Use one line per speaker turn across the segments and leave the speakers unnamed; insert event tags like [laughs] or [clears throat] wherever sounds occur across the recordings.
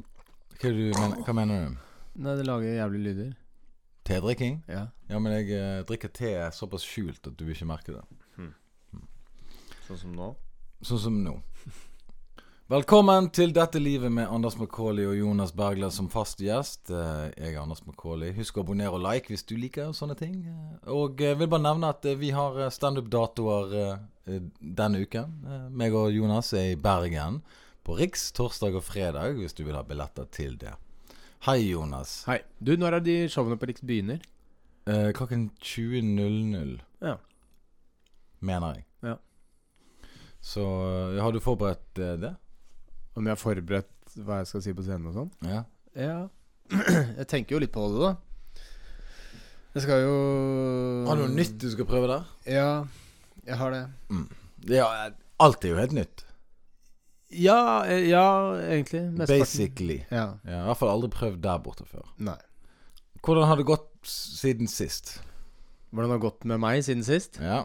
Hva, du mener, hva mener du?
Nei, det lager jævlig lyder.
Tedrikking?
Ja.
Ja, men jeg eh, drikker te såpass skjult at du ikke merker det.
Hmm. Sånn som nå.
Sånn som nå. Velkommen til Dette livet med Anders McCauley og Jonas Bergland som fast gjest. Eh, Jeg er Anders McCauley. Husk å abonnere og like hvis du liker sånne ting. Eh, Og jeg vil bare nevne at eh, vi har eh, standup-datoer eh, eh, denne uken. Eh, Meg og Jonas er i Bergen på Riks torsdag og fredag hvis du vil ha billetter til det. Hei, Jonas.
Hei. Du, når er de showene på Riks begynner?
Eh, Klokken 20.00,
Ja.
mener jeg.
Ja.
Så eh, har du forberedt eh, det?
Om jeg har forberedt hva jeg skal si på scenen og sånn?
Ja.
Ja. [clears throat] Jeg tenker jo litt på det, da. Jeg skal jo
Har du noe nytt du skal prøve der?
Ja, jeg har det.
Ja, alt er jo helt nytt.
Ja, eh, ja egentlig. Mesteparten.
Basically.
Ja.
Ja, I hvert fall aldri prøvd der borte før.
Nei.
Hvordan har det gått s- siden sist?
Hvordan har det gått med meg siden sist?
Ja.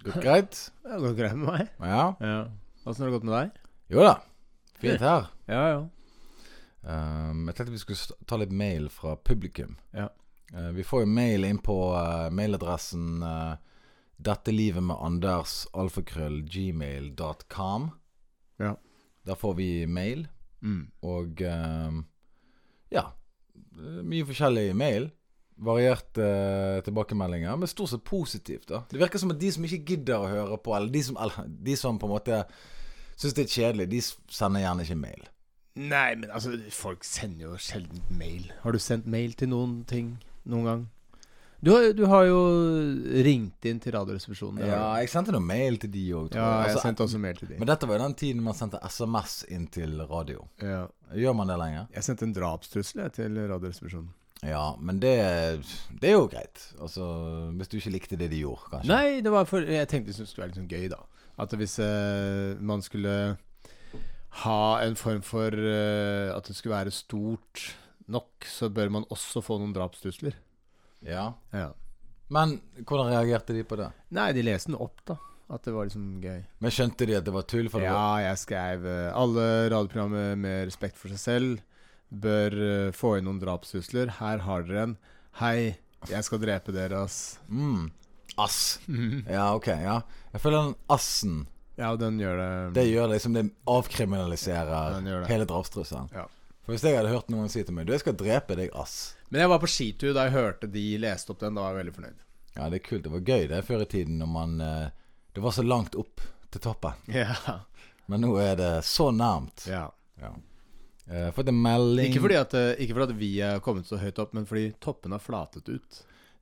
Gått greit?
Det har gått greit med meg.
Ja.
Ja. Åssen har det gått med deg?
Jo da. Fint her.
Ja, ja.
Um, jeg tenkte vi skulle st- ta litt mail fra publikum.
Ja.
Eh, vi får jo mail inn på eh, mailadressen eh, Dette livet med Anders alfakrøll gmail.com.
Ja.
Der får vi mail.
Mm.
Og ehm, ja, eh, mye forskjellig mail. Varierte eh, tilbakemeldinger, men stort sett positivt. da Det virker som at de som ikke gidder å høre på, eller de som, eller, de som på en måte syns det er kjedelig, de s- sender gjerne ikke mail.
Nei, men altså, folk sender jo sjelden mail. Har du sendt mail til noen ting noen gang? Du har, du har jo ringt inn til Radioresepsjonen. det har
Ja,
du.
jeg sendte noe mail til de òg,
ja, altså, jeg sendte også mail til dem.
Altså, men dette var jo den tiden man sendte SMS inn til radio.
Ja.
Gjør man det lenger?
Jeg sendte en drapstrussel jeg, til Radioresepsjonen.
Ja, men det, det er jo greit. Altså, Hvis du ikke likte det de gjorde, kanskje.
Nei, det var for Jeg tenkte det skulle være litt sånn gøy, da. At hvis eh, man skulle ha en form for eh, At det skulle være stort nok, så bør man også få noen drapstrusler.
Ja.
Ja.
Men hvordan reagerte de på det?
Nei, de leste den opp, da. At det var liksom gøy.
Men skjønte de at det var tull? For det var,
Ja, jeg skrev eh, Alle radioprogrammer med respekt for seg selv bør eh, få inn noen drapstrusler. Her har dere en. Hei, jeg skal drepe dere, ass.
mm,
[laughs]
ass. Ja, ok. ja Jeg føler den assen
Ja, og den gjør det.
Det gjør liksom det avkriminaliserer
Den gjør det.
hele drapstrusselen.
Ja.
For hvis jeg hadde hørt noen si til meg Du, jeg skal drepe deg, ass.
Men jeg var på skitur da jeg hørte de leste opp den. Da var jeg veldig fornøyd.
Ja, det er kult. Det var gøy det før i tiden når man eh, Det var så langt opp til toppen.
Ja.
Men nå er det så nærmt.
ja.
Ja. Eh, fått en melding
Ikke, fordi at, eh, ikke fordi at vi er kommet så høyt opp, men fordi toppene har flatet ut.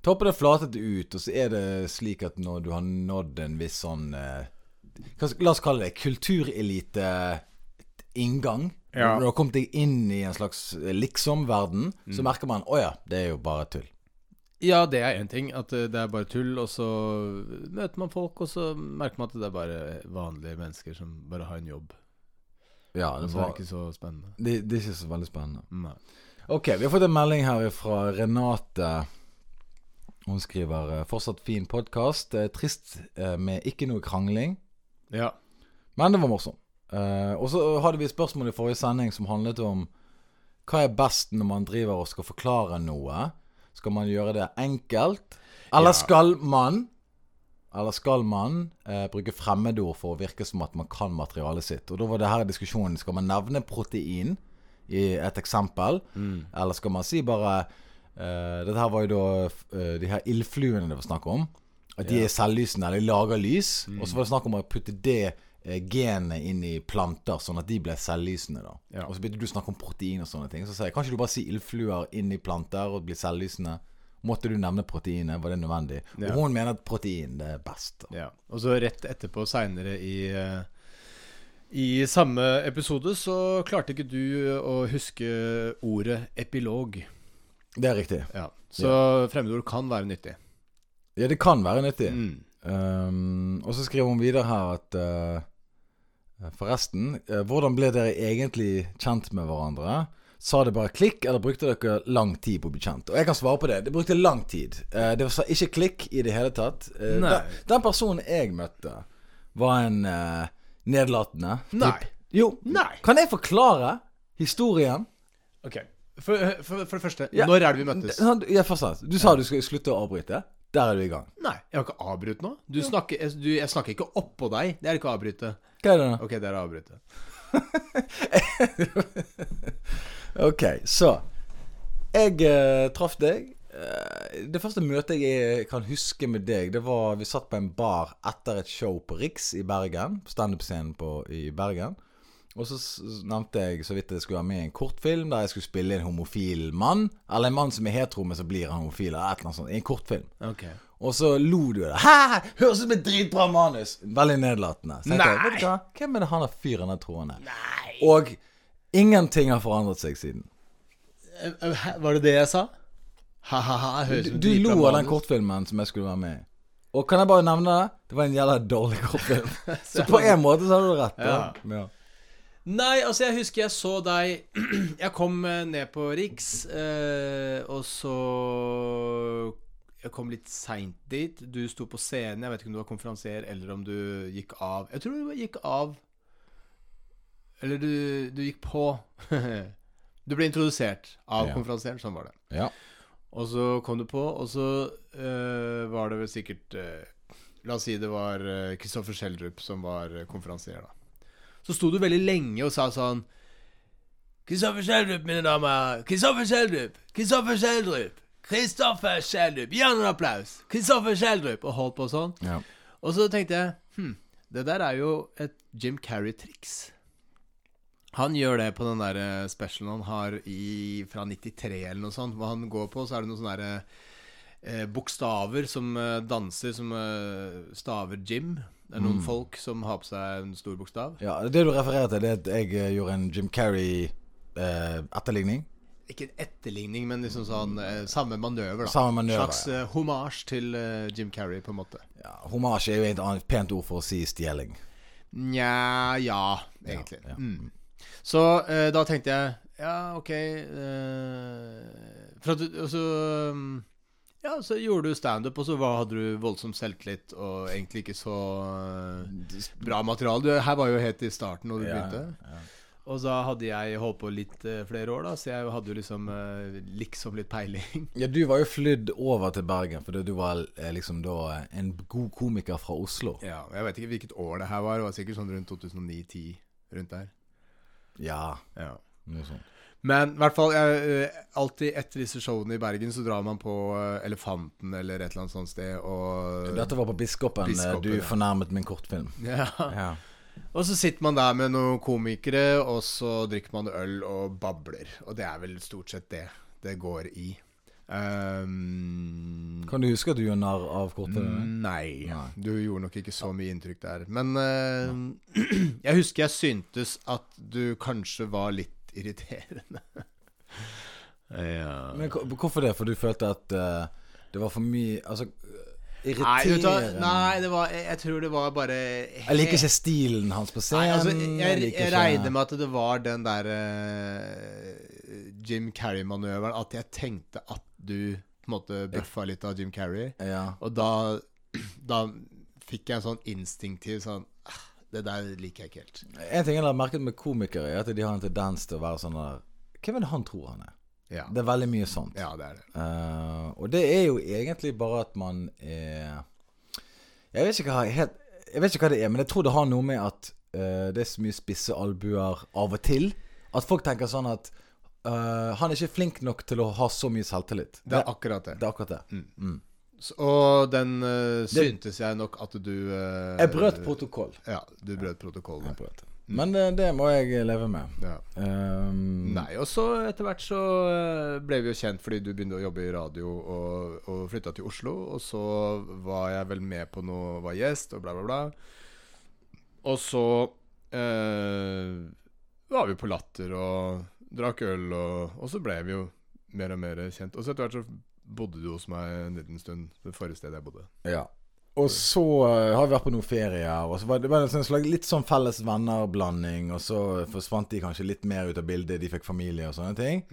Toppen er flatet ut, og så er det slik at når du har nådd en viss sånn eh, hva skal- La oss kalle det kulturelite-inngang.
Ja.
Når du har kommet deg inn i en slags eh, liksom-verden,
Mm.
så merker man å ja, det er jo bare tull.
Ja, det er én ting. At eh, det er bare tull. Og så møter man folk, og så merker man at det er bare vanlige mennesker som bare har en jobb.
Ja,
Og
det,
så er
var,
det ikke så spennende.
det, det er ikke så veldig spennende.
Nei.
Ok, vi har fått en melding her fra Renate. Hun skriver eh, 'fortsatt fin podkast'. Trist eh, med ikke noe krangling.
Ja.
Men det var morsomt. Eh, og så hadde vi et spørsmål i forrige sending som handlet om hva er best når man driver og skal forklare noe? Skal man gjøre det enkelt? Eller
Ja.
skal man Eller skal man eh, bruke fremmedord for å virke som at man kan materialet sitt? Og da var det her diskusjonen. Skal man nevne protein i et eksempel?
Mm.
Eller skal man si bare eh, Dette her var jo da eh, de her ildfluene det var snakk om. At de er selvlysende, eller de lager lys.
Mm.
Og så var det snakk om å putte det eh, genet inn i planter, sånn at de ble selvlysende. da
Ja.
Og så begynte du å snakke om protein og sånne ting. Så sa jeg kanskje du bare si ildfluer inn i planter og bli selvlysende. Måtte du nevne proteinet? Var det nødvendig?
Ja.
Og hun mener at protein det er best. da.
ja. Og så rett etterpå, seinere i eh, I samme episode, så klarte ikke du å huske ordet epilog.
Det er riktig.
Ja. Så fremmedord kan være nyttig.
Ja, det kan være nyttig.
Mm.
Um, og så skriver hun videre her at eh, Forresten, eh, hvordan ble dere egentlig kjent med hverandre? Sa det bare klikk, eller brukte dere lang tid på å bli kjent? Og jeg kan svare på det. Det brukte lang tid. Eh, det sa ikke klikk i det hele tatt. Eh,
Nei.
den, den personen jeg møtte, var en eh, nedlatende. typ.
Nei.
Jo.
Nei.
Kan jeg forklare historien?
Ok. For, eh, for, for det første,
Ja.
når er det vi møttes?
Sånn, Ja, først og fremst. Du sa du skulle slutte å avbryte. Der er du i gang.
Nei, jeg har ikke avbrutt nå. Du snakker, jeg, du, jeg snakker ikke oppå deg. Det er ikke å avbryte.
Hva er det nå?
Ok, det er å avbryte.
Ok, så Jeg eh, traff deg. Eh, Det første møtet jeg eh, kan huske med deg, det var vi satt på en bar etter et show på Riks i Bergen. På standup-scenen på- i Bergen. Og så s- nevnte jeg så vidt jeg skulle være med i en kortfilm der jeg skulle spille en homofil mann. Eller en mann som er hetero, men så blir han homofil. Eller et eller annet sånt. I en kortfilm.
Ok.
Og så lo du av det. Hæ! Høres ut som et dritbra manus! Veldig nedlatende. Så tenkte jeg,
Nei.
vet du hva? Hvem er det han der fyren der tror han er? Nei. Og ingenting har forandret seg siden.
Eh, eh, hæ, Var det det jeg sa? Ha-ha-ha.
Du, du lo av den kortfilmen som jeg skulle være med i. Og kan jeg bare nevne det? Det var en jævla dårlig
[laughs]
kortfilm. Så på en måte så hadde du rett. da. Ja.
Nei, altså jeg husker jeg så deg [clears throat] Jeg kom eh, ned på Riks, eh, og så Jeg kom litt seint dit. Du sto på scenen. Jeg vet ikke om du var konferansier, eller om du gikk av. Jeg tror du gikk av. Eller du, du gikk på. [laughs] du ble introdusert av
Ja.
konferansieren. Sånn var det.
Ja.
Og så kom du på, og så eh, var det vel sikkert eh, La oss si det var eh, Kristoffer Schjelderup som var eh, konferansier, da. Så sto du veldig lenge og sa sånn Kristoffer Schjelderup, mine damer. Kristoffer Schjelderup. Kristoffer Schjelderup. Kristoffer Schjelderup. Gi ham en applaus. Kristoffer Schjelderup. Og holdt på sånn.
Ja.
Og så tenkte jeg hm, Det der er jo et Jim Carrey-triks. Han gjør det på den der eh, specialen han har i, fra 93 eller noe sånt. Hva han går på, så er det noen sånne der, eh, bokstaver som eh, danser, som eh, staver Jim. Det er
Mm.
noen folk som har på seg en stor bokstav.
ja. Det du refererer til, det er at jeg eh, gjorde en Jim eh, Carrey-etterligning.
Ikke en etterligning, men liksom sånn eh, samme manøver, da.
Samme manøver,
Slags eh, hommage til eh, Jim Carrey, på en måte.
ja, Hommage er jo et annet pent ord for å si stjeling.
Nja, ja, egentlig.
ja.
Mm. Så eh, da tenkte jeg Ja, ok eh, For at du Og så um, Ja, så gjorde du standup, og så var, hadde du voldsom selvtillit og egentlig ikke så eh, bra materiale. Du, her var jo helt i starten når du begynte. Og da hadde jeg holdt på litt eh, flere år, da, så jeg hadde jo liksom eh, liksom litt peiling.
Ja, du var jo flydd over til Bergen fordi du var eh, liksom da en god komiker fra Oslo.
Ja, og Jeg vet ikke hvilket år det her var, det var sikkert sånn rundt 2009-10, rundt der.
Ja,
Ja.
noe sånt.
Men i hvert fall, jeg, eh, alltid etter disse showene i Bergen, så drar man på eh, Elefanten eller et eller annet sånt sted, og
Dette var på Biskopen. eh,
Biskopen,
du
ja.
fornærmet min kortfilm.
[laughs] ja.
Ja.
Og så sitter man der med noen komikere, og så drikker man øl og babler. Og det er vel stort sett det det går i. Um,
Kan du huske at du gjorde narr av
Mm.
kortfilmen?
Nei.
Nei.
Du gjorde nok ikke så mye inntrykk der. Men eh, [clears throat] jeg husker jeg syntes at du kanskje var litt irriterende. ja.
Men hvor- hvorfor det? For du følte at eh, det var for mye Altså, eh,
Nei, vet du hva?
irriterende
nei det var, jeg, jeg tror det var bare
Jeg liker ikke stilen hans på
Nei,
scenen.
altså, jeg,
liker
jeg
ikke-
regner med at det var den der eh, Jim Carrey-manøveren At jeg tenkte at du på en måte bøffa litt av Jim Carrey.
ja.
Og da, [clears throat] da fikk jeg en sånn instinktiv sånn «Ah, Det der liker jeg ikke helt.
En ting jeg har merket med komikere, er at de har en tendens til å være sånn der Hvem er det han tror han er?
Ja,
Det er veldig mye sånt.
ja det er det.
Eh, og det er jo egentlig bare at man er Jeg vet ikke hva, helt, jeg vet ikke hva det er, men jeg tror det har noe med at eh, det er så mye spisse albuer av og til. At folk tenker sånn at eh, han er ikke flink nok til å ha så mye selvtillit.
Det er Mm. akkurat det.
det er akkurat det.
Så- Og den eh, syntes jeg nok at du eh,
Jeg brøt protokoll.
Ja, du brøt protokollen.
Men det, det må jeg leve med.
Ja.
Ehm,
Nei, og så etter hvert så eh, ble vi jo kjent fordi du begynte å jobbe i radio og, og flytta til Oslo. Og så var jeg vel med på noe, var gjest og bla, bla, bla. Og så eh, var vi på Latter og drakk øl, og, og så ble vi jo mer og mer kjent. Og så etter hvert så bodde du hos meg en liten stund, det forrige stedet jeg bodde.
ja. Og så eh, har vi vært på noen ferier, og så var det, var det en slags, litt sånn felles venner-blanding. Og så forsvant de kanskje litt mer ut av bildet, de fikk familie og sånne ting.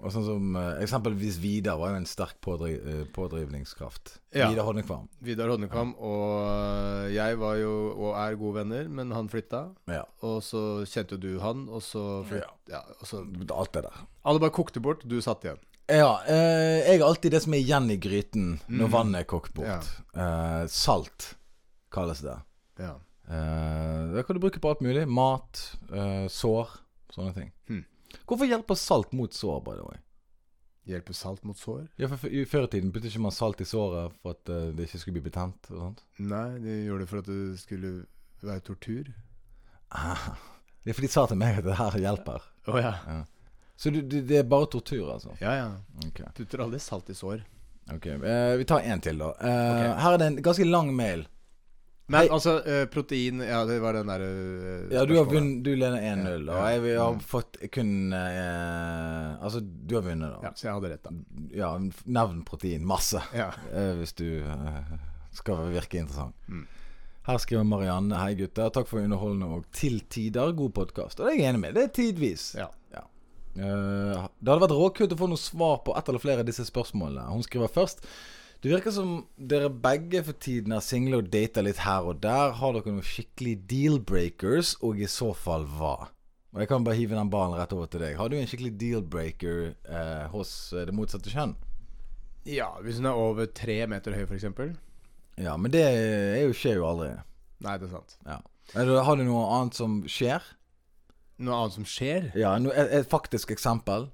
Og sånn som eh, Eksempelvis Vidar var jo en sterk pådri eh, pådrivningskraft.
Ja.
Vidar Hodnekvam.
Vidar Hodnekvam og jeg var jo og er gode venner, men han flytta.
Ja.
Og så kjente jo du han, og så flytt, ja. altså- og så
Alt det der.
Alle bare kokte bort, du satt igjen.
Ja, eh, jeg er alltid det som er igjen i gryten når vannet er kokt bort. Eh, salt kalles det.
Ja.
Eh, det kan du bruke på alt mulig. Mat, eh, sår, sånne ting.
Hmm.
Hvorfor hjelper salt mot sår, by the way?
Hjelper salt mot sår?
Ja, for, for, I før i tiden puttet ikke man salt i såret for at eh, det ikke skulle bli betent og sånt.
Nei, de gjorde det for at det skulle være tortur.
Ah, det er fordi de sa til meg at det her hjelper.
Å ja.
Så du, du, det er bare tortur, altså?
Ja ja.
Ok.
Putter aldri salt i sår.
ok. Eh, vi tar en til, da. Eh, Her er det en ganske lang mail.
Men
Hei.
altså, eh, protein Ja, det var den eh, derre
Ja, du har vunnet, du leder 1-0, og
Ja, Mm.
jeg vil- har fått kun eh, Altså, du har vunnet, da.
Ja, så jeg hadde rett, da.
Ja, nevn protein. Masse.
Ja.
eh, hvis du eh, skal virke interessant.
Mm.
Her skriver Marianne. Hei, gutter. Takk for underholdende og til tider god podkast. Og det er jeg enig med. Det er tidvis.
ja.
Eh, det hadde vært råkult å få noe svar på ett eller flere av disse spørsmålene. Hun skriver først Det virker som dere begge for tiden er single og dater litt her og der. Har dere noen skikkelig deal-breakers, og i så fall hva? Og Jeg kan bare hive den ballen rett over til deg. Har du en skikkelig deal-breaker eh, hos eh, det motsatte kjønn?
ja, hvis hun er over tre meter høy, for eksempel.
Ja, men det er jo, skjer jo aldri.
Nei, det er sant.
Ja. Eller Har du noe annet som skjer?
Noe annet som skjer?
Ja, no, et, et faktisk eksempel.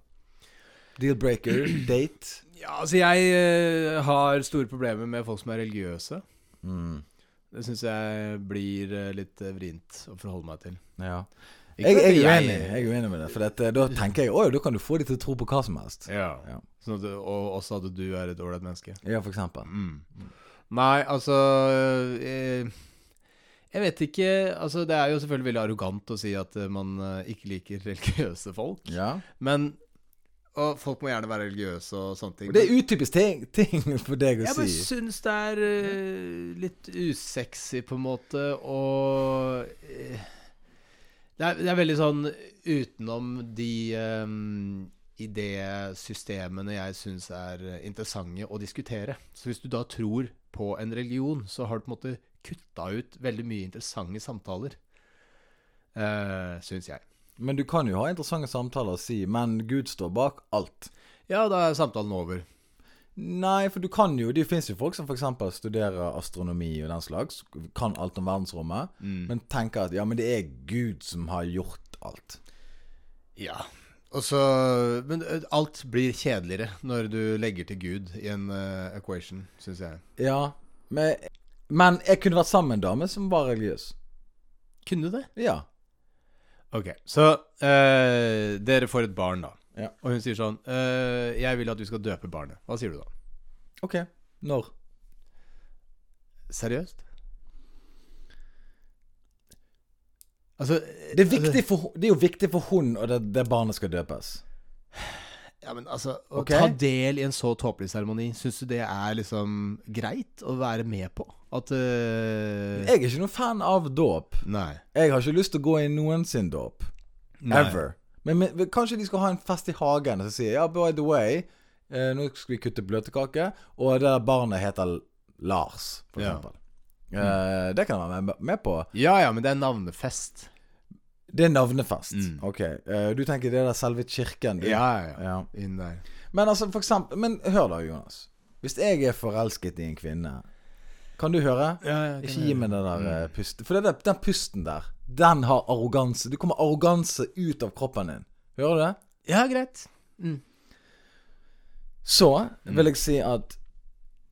Deal-breaker, [clears throat] date.
Ja, altså jeg eh, har store problemer med folk som er religiøse.
Mm.
Det syns jeg blir eh, litt eh, vrient å forholde meg til.
Ja.
Ikke
Jeg,
at
jeg, er uenig, jeg er uenig med det. For dette, da tenker jeg at da kan du få de til å tro på hva som helst.
Ja.
Ja.
Sånn at, du- og også at du er et ålreit menneske.
Ja, for eksempel.
Mm. Nei, altså eh, Jeg vet ikke Altså, det er jo selvfølgelig veldig arrogant å si at eh, man eh, ikke liker [laughs] religiøse folk,
Ja.
men Og folk må gjerne være religiøse og sånne ting.
Og det er utypisk ting, [laughs] ting for deg å
Jeg bare
si.
syns det er eh, litt usexy, på en måte, og eh, det, er, det er veldig sånn utenom de um, idésystemene jeg syns er interessante å diskutere. Så hvis du da tror på en religion, så har du på en måte kutta ut veldig mye interessante samtaler. Uh, syns jeg.
Men du kan jo ha interessante samtaler og si 'men Gud står bak alt'.
Ja, da er samtalen over.
Nei, for du kan jo Det fins jo folk som f.eks. studerer astronomi og den slags, kan alt om verdensrommet,
Mm.
men tenker at ja, men det er Gud som har gjort alt.
Ja. Og så, men eh, alt blir kjedeligere når du legger til Gud i en eh, equation, syns jeg.
Ja, men, men jeg kunne vært sammen med en dame som var religiøs.
Kunne du det?
Ja.
Ok, Så eh, dere får et barn, da.
Ja.
Og hun sier sånn eh, 'Jeg vil at du skal døpe barnet'. Hva sier du da?
OK. Når?
Seriøst? Altså
Det er, viktig for, det er jo viktig for hun og det, det barnet skal døpes.
Ja, men altså Å
Ok.
ta del i en så tåpelig seremoni, syns du det er liksom greit å være med på? At eh,
Jeg er ikke noen fan av dåp.
Nei.
Jeg har ikke lyst til å gå i noen sin dåp.
Nei.
Ever. Men, men men kanskje de skal ha en fest i hagen og så sier ja, by the way, eh, nå skal vi kutte bløtkake, og det der barnet heter L- Lars, for
Ja.
eksempel. Eh, det kan jeg være med, med på.
Ja ja, men det er navnefest.
Det er navnefest.
Mm.
Ok. Eh, du tenker det er der selve kirken? Du.
Ja, ja,
ja.
Inn der.
Men altså, for eksempel Men hør da, Jonas. Hvis jeg er forelsket i en kvinne, kan du høre? Ikke gi meg det der eh,
Mm.
pusten. For det der, den pusten der, den har arroganse. Du kommer arroganse ut av kroppen din. Hører du det?
Ja, greit. Mm.
Så vil jeg si at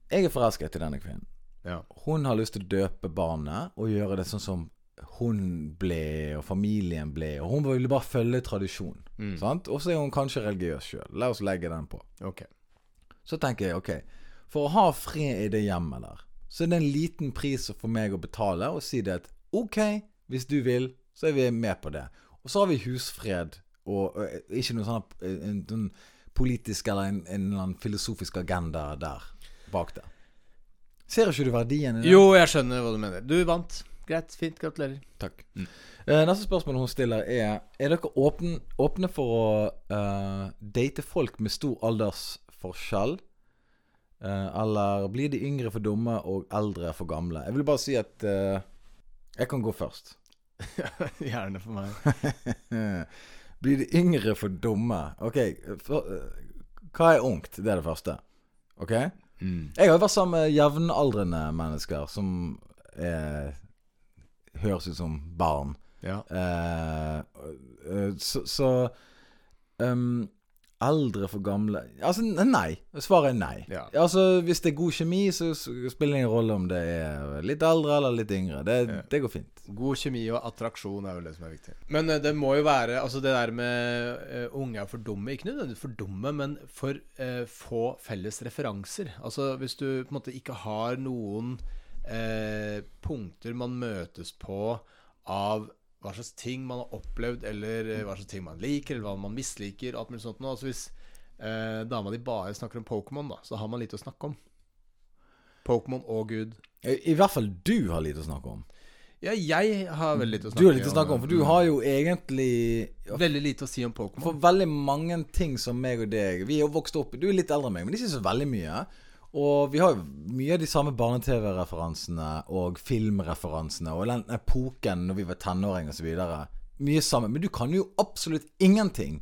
jeg er forelsket i denne kvinnen.
Ja.
Hun har lyst til å døpe barnet og gjøre det sånn som hun ble, og familien ble, og hun ville bare følge tradisjon.
Mm.
Sant? Og så er hun kanskje religiøs sjøl. La oss legge den på.
Ok.
Så tenker jeg, ok For å ha fred i det hjemmet der Så er det en liten pris for meg å betale Og si det at, ok, hvis du vil Så er vi med på det Og så har vi husfred Og, og eh, ikke noe sånn eh, en, en politisk eller en, en eller annen filosofisk agenda der Bak det Ser ikke du verdien i det?
Jo, jeg skjønner hva du mener. Du vant. Greit, fint. Gratulerer.
Takk. Eh, neste spørsmål hun stiller, er Er dere åpne, åpne for å eh, date folk med stor aldersforskjell? Eh, eller blir de yngre for dumme og eldre for gamle? Jeg vil bare si at eh, Jeg kan gå først.
[laughs]
[laughs]
Gjerne for meg.
blir de yngre for dumme? OK, for, eh, hva er ungt? Det er det første. OK? Jeg har jo vært sammen med jevnaldrende mennesker som eh, høres ut som barn.
Ja.
Eh, eh, så så ehm, Eldre for gamle Altså, ne- nei. Svaret er nei.
Ja.
Altså, Hvis det er god kjemi, så s- spiller det ingen rolle om det er litt eldre eller litt yngre. Det,
Ja.
det går fint.
God kjemi og attraksjon er vel det som er viktig. Men eh, det må jo være Altså, det der med eh, unge er for dumme Ikke nødvendigvis for dumme, men for eh, få felles referanser. Altså, hvis du på en måte ikke har noen eh, punkter man møtes på av hva slags ting man har opplevd, eller eh, hva slags ting man liker, eller hva man misliker, og alt mulig sånt noe. Altså, hvis eh, dama di bare snakker om Pokémon, da, så har man lite å snakke om. Pokémon og Gud.
I, I hvert fall du har lite å snakke om.
Ja, jeg har veldig lite å snakke
Du har lite å snakke om, for du har jo egentlig
Veldig lite å si om Pokémon.
For veldig mange ting som meg og deg Vi er jo vokst opp Du er litt eldre enn meg, men ikke så veldig mye. Og vi har jo mye av de samme barne-TV-referansene og filmreferansene og den epoken når vi var tenåringer osv. Mye sammen. Men du kan jo absolutt ingenting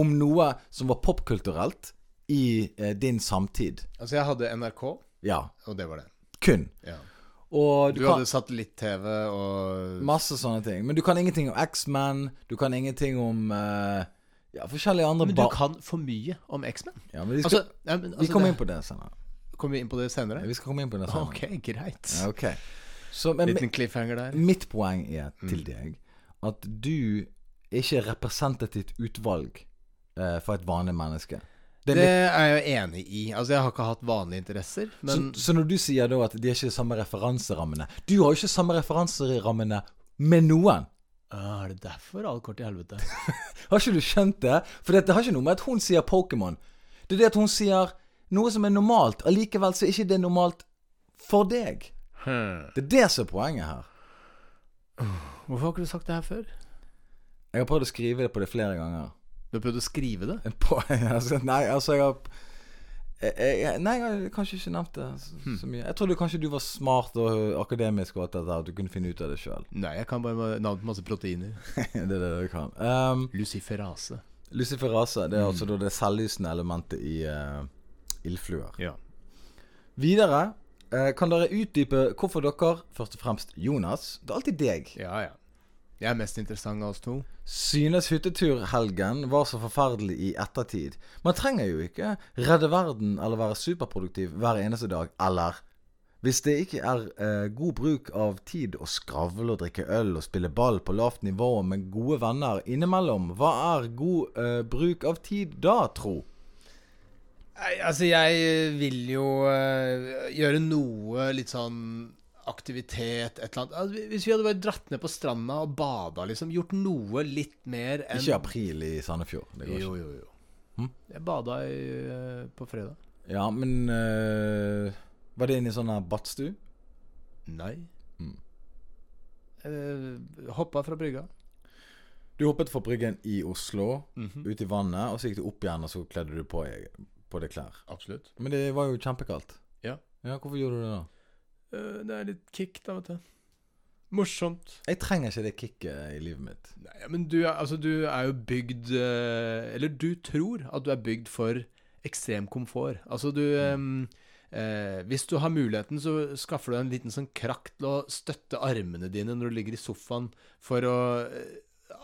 om noe som var popkulturelt i eh, din samtid.
Altså, jeg hadde NRK,
Ja.
og det var det.
Kun.
Ja.
Og
Du
du, kan
hadde satellitt-TV og
masse sånne ting. Men du kan ingenting om X-Man. Du kan ingenting om eh, ja, forskjellige andre
Men du
bar-
kan for mye om X-Men.
ja, men vi, skal,
Altså, ja, men,
vi
altså,
kommer
det-
inn på det senere.
kommer vi inn på det senere?
Vi skal komme inn på det senere.
Ok, greit.
Ja, ok. Mm. Så, men mi-
Liten cliffhanger der.
mitt poeng er til deg at du er ikke er representativt utvalg eh, for et vanlig menneske. Det
Det
er litt,
er jeg jo enig i. Altså, jeg har ikke hatt vanlige interesser, men
så, så når du sier da at de er ikke de samme referanserammene Du har jo ikke samme referanserammene med noen.
Ah, Er det derfor alle kort i helvete?
Har ikke du skjønt det? For det, det har ikke noe med at hun sier Pokémon. Det er det at hun sier noe som er normalt. Allikevel så er ikke det normalt for deg.
Hmm.
Det er det som er poenget her.
Hvorfor har ikke du sagt det her før?
Jeg har prøvd å skrive det på det flere ganger.
Du har prøvd å skrive det?
På, [laughs] altså, nei, altså jeg har jeg, jeg, Nei, jeg har kanskje ikke nevnt det så, så mye. Jeg trodde kanskje du var smart og ø, akademisk og alt dette, her, at du kunne finne ut av det sjøl.
Nei, jeg kan bare ma- navn på masse proteiner.
[laughs] det er det du kan. Um,
Luciferase.
Luciferase, det er altså da det selvlysende elementet i uh, ildfluer.
Ja.
Videre eh, kan dere utdype hvorfor dere, først og fremst Jonas, det er alltid deg,
Ja, ja. Jeg er mest interessant av oss to.
Synes hytteturhelgen var så forferdelig i ettertid. Man trenger jo ikke redde verden eller være superproduktiv hver eneste dag, eller Hvis det ikke er eh, god bruk av tid å skravle og drikke øl og spille ball på lavt nivå med gode venner innimellom, hva er god eh, bruk av tid da, tro?
Nei, altså jeg vil jo eh, gjøre noe litt sånn aktivitet, et eller annet. Altså, hvis vi hadde bare dratt ned på stranda og bada, liksom. Gjort noe litt mer enn
Ikke april i Sandefjord. Det går
Jo,
ikke.
jo, jo. Jeg bada i, eh, på fredag.
Ja, men eh, Var det inne i sånn her badstue?
Nei. Mm. Eh, hoppa fra brygga.
Du hoppet fra bryggen i Oslo, ut i vannet, og så gikk du opp igjen, og så kledde du på, på deg klær.
Absolutt.
Men det var jo kjempekaldt.
Ja.
Ja, Hvorfor gjorde du det da?
Eh, det er litt kick, da, vet du. Morsomt.
Jeg trenger ikke det kicket i livet mitt.
Nei, ja, men du er, altså, du er jo bygd eh, Eller du tror at du er bygd for ekstrem komfort. Altså, du eh, eh, Hvis du har muligheten, så skaffer du deg en liten sånn krakk til å støtte armene dine når du ligger i sofaen, for å eh,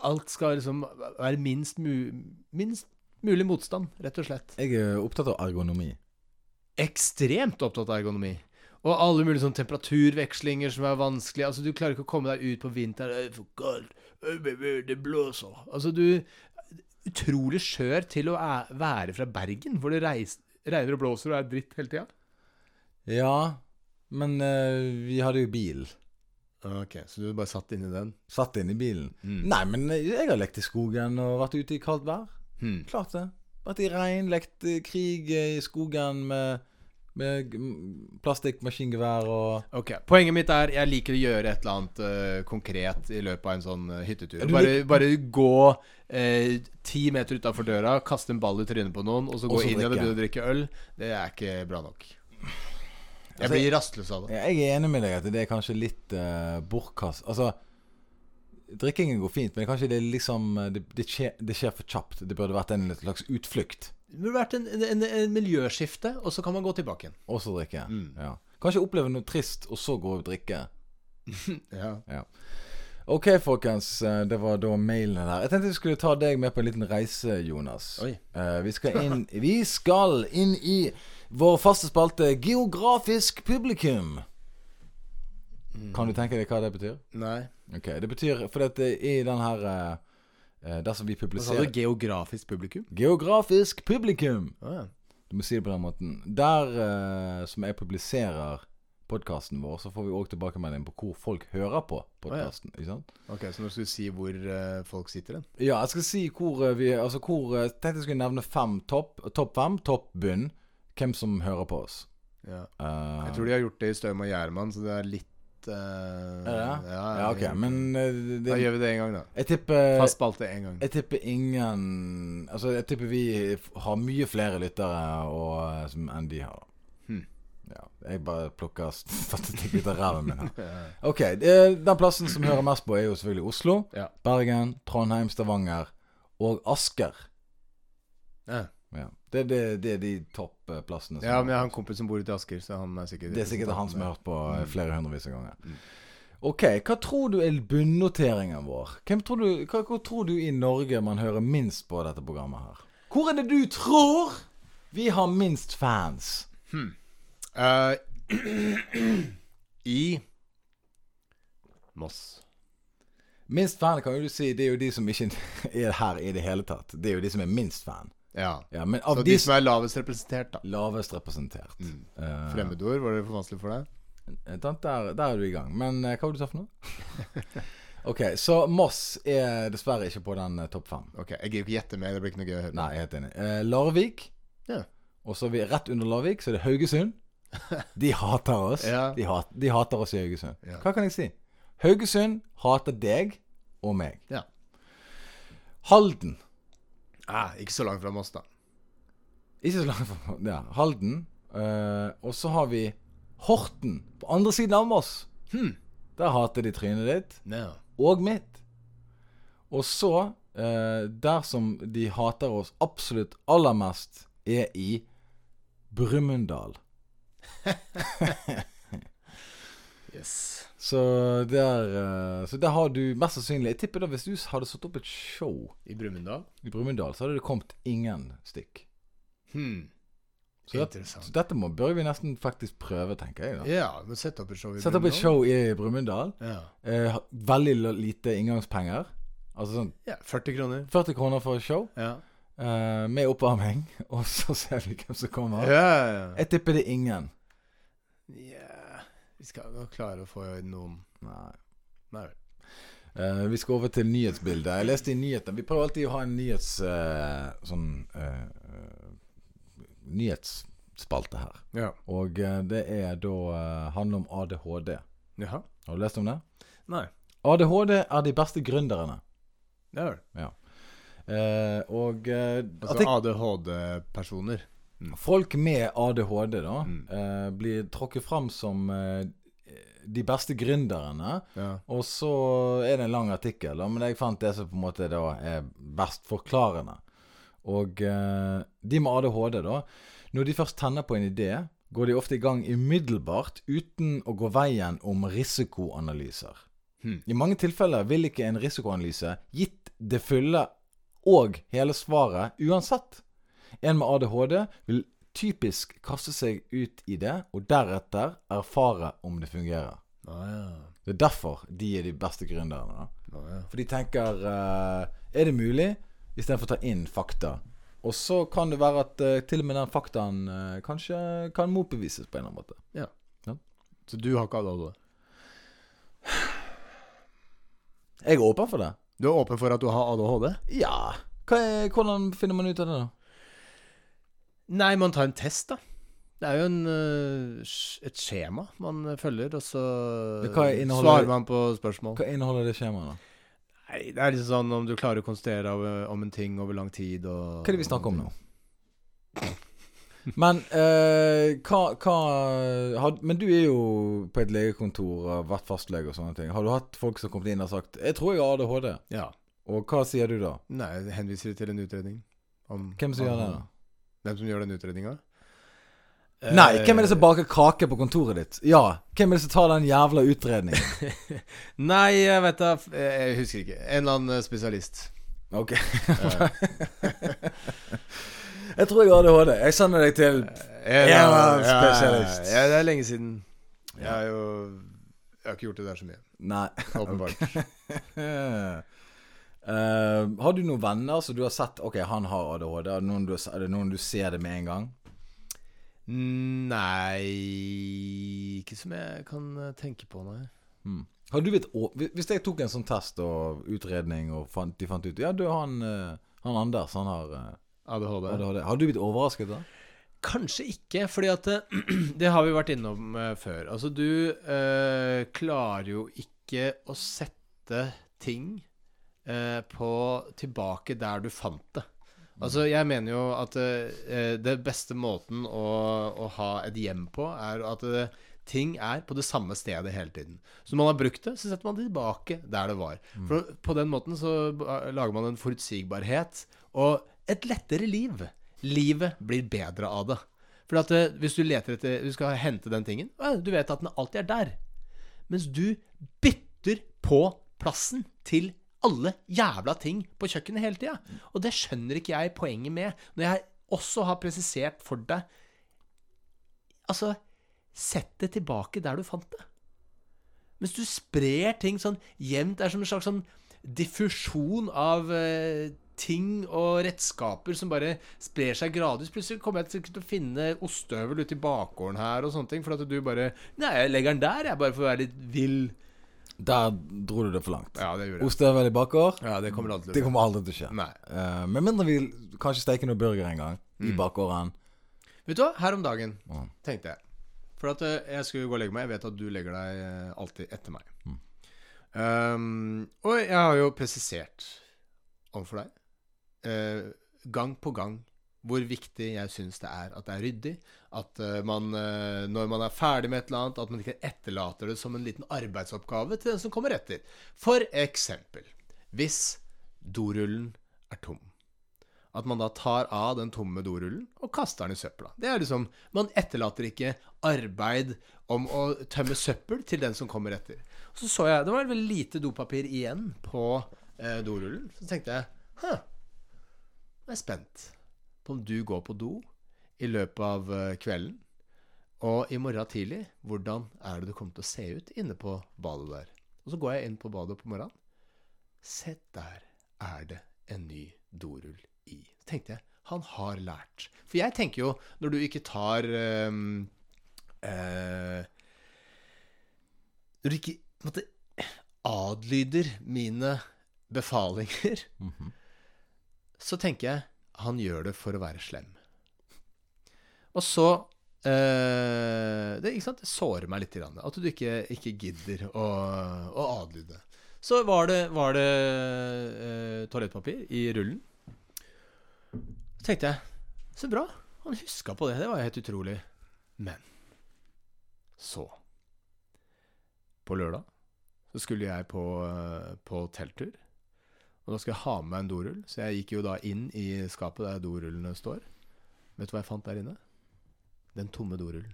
Alt skal liksom være minst, mu, minst mulig motstand, rett og slett.
Jeg er opptatt av ergonomi.
Ekstremt opptatt av ergonomi. Og alle mulige sånne temperaturvekslinger som er vanskelig. Altså, du klarer ikke å komme deg ut på vinteren. Det er for kaldt. Øy, øy, øy, Det blåser. Altså, du Utrolig skjør til å æ- være fra Bergen, hvor det reis- regner og blåser og er dritt hele tida.
Ja, men eh, vi hadde jo bil.
Ok, så du bare satt inni den?
Satt inn i bilen.
Mm.
Nei, men eh, jeg har lekt i skogen og vært ute i kaldt vær.
Hmm.
Klart det. Vært i regn, lekt eh, krig eh, i skogen med, Med mm, plastikkmaskingevær og
Ok, Poenget mitt er jeg liker å gjøre et eller annet eh, konkret i løpet av en sånn eh, hyttetur.
Ja, du
Bare,
lik-
bare gå eh, ti meter utafor døra, kaste en ball i trynet på noen, og så gå
så
inn igjen og
drikke.
begynne å drikke øl. Det er ikke bra nok.
Altså,
Jeg blir rastløs av det.
Ja, Jeg er enig med deg at det er kanskje litt uh, bortkast Altså, drikkingen går fint, men kanskje det er liksom eh, Det, det, skjer, det skjer for kjapt. Det burde vært en slags utflukt,
Det burde vært en, en, en miljøskifte, og så kan man gå tilbake igjen.
og så drikke.
Mm.
Ja. Kanskje oppleve noe trist, og så gå og drikke.
Ja.
Ok, folkens. eh, Det var da mailene der. Jeg tenkte vi skulle ta deg med på en liten reise, Jonas.
Oi.
Eh, vi, skal inn, vi skal inn i vår faste spalte Geografisk publikum.
Mm.
Kan du tenke deg hva det betyr?
Nei.
Ok, Det betyr For at eh, i den her eh, eh, Dersom vi
Hva sa
publiserer
du? Geografisk publikum?
Geografisk publikum!
Å ja.
Du må si det på den måten. Der eh, som jeg publiserer podkasten vår, så får vi òg tilbakemelding på hvor folk hører på podkasten. Ikke sant?
Ok, Så nå skal du si hvor eh, folk sitter hen?
Ja, jeg skal si hvor eh, vi Altså hvor eh, Tenkte jeg skulle nevne fem topp. Topp fem, topp bunn. Hvem som hører på oss.
Ja.
Eh,
Jeg tror de har gjort det i Støm og Gjerman, så det er litt eh,
Er det det?
Ja,
ja, ok, men eh, det,
Da gjør vi det en gang, da.
Jeg tipper
Fast spalte en gang.
Jeg tipper ingen Altså, jeg tipper vi f- har mye flere lyttere og, eh, som enn de har.
Hmm.
Ja, jeg bare plukker s- fatte ting ut av ræven min her. Ok, eh, Den plassen som hører mest på, er jo selvfølgelig Oslo,
Ja.
Bergen, Trondheim, Stavanger og Asker.
Ja.
Ja, Det, det, det er de topplassene.
Ja, men jeg har en kompis som bor ute i Asker, så han er sikkert
Det er sikkert han som har hørt på eh,
Mm.
flere hundrevis av ganger. Ok, hva tror du er bunnoteringen vår? Hvem tror du, hva, hvor tror du i Norge man hører minst på dette programmet her? Hvor er det du tror vi har minst fans?
Eh, [clears throat] I Moss.
Minst fan kan jo du si, det er jo de som ikke [laughs] er her i det hele tatt. Det er jo de som er minst fan.
Ja.
Ja, men
Så
av
de
de
som er lavest representert, da.
lavest representert. Mm.
Fremmedord, var det for vanskelig for deg?
der, der er du i gang. Men eh, hva var det du
[laughs]
sa for noe? ok, så Moss er dessverre ikke på den eh, topp fem.
Ok, Jeg gidder ikke gjette mer, det blir ikke noe gøy å høre.
Nei, jeg er helt enig. Eh, Larvik.
Ja.
Og så er vi rett under Larvik, så er det
[laughs]
Haugesund. De hater oss.
Ja.
De, hat, de hater oss i Haugesund.
Ja.
Hva kan jeg si? Haugesund hater deg og meg.
Ja.
Halden.
Ah, ikke så langt fra Moss, da.
Ikke så langt fra ja, Halden. Eh, og så har vi Horten på andre siden av Moss.
Hmm.
Der hater de trynet ditt
No.
og mitt. Og så, eh, der som de hater oss absolutt aller mest, er i Brumunddal.
Yes.
Så der, eh, så der har du mest sannsynlig Jeg tipper da hvis du hadde satt opp et show
I Brumunddal?
i Brumunddal, så hadde det kommet ingen stykk.
Hmm.
Så, det, så
Interessant.
dette må, bør vi nesten faktisk prøve, tenker jeg. da
Ja, men sett opp et show i
Sett opp et show i Brumunddal.
Ja.
Eh, ha- veldig l- lite inngangspenger. Altså sånn
ja. 40 kroner.
40 kroner for et show
Ja.
eh, med oppvarming, [laughs] og så ser vi hvem som kommer.
Ja, ja, ja.
Jeg tipper det er ingen.
Ja, Vi skal nok klare å få noen
Nei.
Nei vel.
Eh, vi skal over til nyhetsbildet. Jeg leste i nyhetene Vi prøver alltid å ha en nyhets... eh, sånn eh, eh, Nyhetsspalte her.
Ja.
Og eh, det er da eh, handler om ADHD.
Jaha.
Har du lest om det?
Nei.
ADHD er de beste gründerne.
Ja vel.
Eh, og eh, at
Altså
det,
ADHD-personer.
folk med ADHD da
Mm.
eh, blir tråkket fram som eh, de beste gründerne.
Ja.
Og så er det en lang artikkel, da, men jeg fant det som på en måte da er best forklarende. Og eh, de med ADHD, da. Når de først tenner på en idé, går de ofte i gang umiddelbart uten å gå veien om risikoanalyser.
Hmm.
I mange tilfeller vil ikke en risikoanalyse gitt det fulle og hele svaret uansett. En med ADHD vil typisk kaste seg ut i det, og deretter erfare om det fungerer.
Ah, ja.
Det er derfor de er de beste gründerne. da.
Ah, ja.
For de tenker eh, Er det mulig? Istedenfor å ta inn fakta. Og så kan det være at eh, til og med den faktaen eh, kanskje kan motbevises på en eller annen måte.
Så du har ikke ADHD?
Jeg er åpen for det.
Du er åpen for at du har ADHD?
Ja. Hva er, hvordan finner man ut av det, da?
Nei, man tar en test, da. Det er jo en, eh, sk- et skjema man følger, og så
Men hva inneholder-
svarer man på spørsmål.
Hva inneholder det skjemaet, da?
Nei, det er liksom sånn om du klarer å konsentrere deg om en ting over lang tid og
Hva er det vi snakker om nå? Men eh, hva, hva har, Men du er jo på et legekontor og har vært fastlege og sånne ting. Har du hatt folk som har kommet inn og sagt 'Jeg tror jeg har ADHD',
Ja.
og hva sier du da?
Nei, jeg henviser til en utredning. Om,
Hvem som
om-
gjør det, da?
Hvem som gjør den utredninga?
Nei, hvem er det som baker kake på kontoret ditt? Ja, hvem er det som tar den jævla utredningen?
Eh, Nei, jeg vet da f- eh, Jeg husker ikke. En eller annen
[laughs]
eh, spesialist.
[laughs] Ok.
Eh,
Jeg tror jeg har ADHD. Jeg sender deg til
en
Ja,
eller annen-
spesialist.
Ja, ja, det er lenge siden. Jeg har jo Jeg har ikke gjort det der
[laughs]
så mye.
Nei.
Åpenbart.
Eh, har du noen venner som du har sett Ok, han har ADHD. Er det noen du, er det noen du ser det med en gang?
Nei Ikke som jeg kan eh, tenke på, nei.
Mm. Har du blitt å- Hvis hvis jeg tok en sånn test og utredning, og fant, de fant ut Ja, du, han, eh, han Anders, han har eh,
ADHD.
ADHD. Har du blitt overrasket da?
Kanskje ikke, fordi at det, [clears throat] det har vi vært innom eh, før. Altså, du eh, klarer jo ikke å sette ting eh, på tilbake der du fant det. Altså, jeg mener jo at eh, det beste måten å, å ha et hjem på, er at eh, ting er på det samme stedet hele tiden. Så når man har brukt det, så setter man det tilbake der det var. For på den måten så eh, lager man en forutsigbarhet og et lettere liv. Livet blir bedre av det. For at eh, hvis du leter etter Du skal hente den tingen. eh, Du vet at den alltid er der. Mens du bytter på plassen til alle jævla ting på kjøkkenet hele tida. Og det skjønner ikke jeg poenget med, når jeg også har presisert for deg Altså, sett det tilbake der du fant det. Mens du sprer ting sånn jevnt Det er som en slags sånn diffusjon av eh, ting og redskaper som bare sprer seg gradvis. Plutselig kommer jeg sikkert til å finne ostehøvel ute i bakgården her og sånne ting, for at du bare Nei, jeg legger den der, jeg, bare for å være litt vill.
Der dro du det for langt.
Ja, det gjorde jeg.
Ostehøvel i bakgård?
Ja, det kommer aldri
Det
til å
kommer aldri til å skje.
skje. Nei.
Eh, med mindre vi kanskje steker noe burger en gang
Mm.
i bakgården.
Vet du hva, her om dagen
Ja.
tenkte jeg For at eh, jeg skulle gå og legge meg Jeg vet at du legger deg eh, alltid etter meg um, Og jeg har jo presisert Overfor deg eh, Gang på gang Hvor viktig jeg synes det er at det er ryddig At eh, man eh, Når man er ferdig med et eller annet At man ikke etterlater det som en liten arbeidsoppgave Til den som kommer etter For eksempel Hvis dorullen er tom at man da tar av den tomme dorullen og kaster den i søpla. Det er liksom Man etterlater ikke arbeid om å tømme søppel til den som kommer etter. Og så så jeg Det var veldig lite dopapir igjen på eh, dorullen. Så tenkte jeg Hæ. Jeg er spent på om du går på do i løpet av eh, kvelden. Og i morgen tidlig, hvordan er det du kommer til å se ut inne på badet der? Og så går jeg inn på badet på morgenen. Se der er det en ny dorull i. Så tenkte jeg, han har lært. For jeg tenker jo, når du ikke tar ehm, eh, Når du ikke på en måte, adlyder mine befalinger, så tenker jeg han gjør det for å være slem. Og så eh, det, ikke sant? det sårer meg litt. Grann, at du ikke, ikke gidder å, å adlyde. Så var det, var det eh, toalettpapir i rullen. Så tenkte jeg Så bra. Han huska på det. Det var jo helt utrolig. Men så På lørdag så skulle jeg på, eh, på telttur. Og da skulle jeg ha med meg en dorull, så jeg gikk jo da inn i skapet der dorullene står. Vet du hva jeg fant der inne? Den tomme dorullen.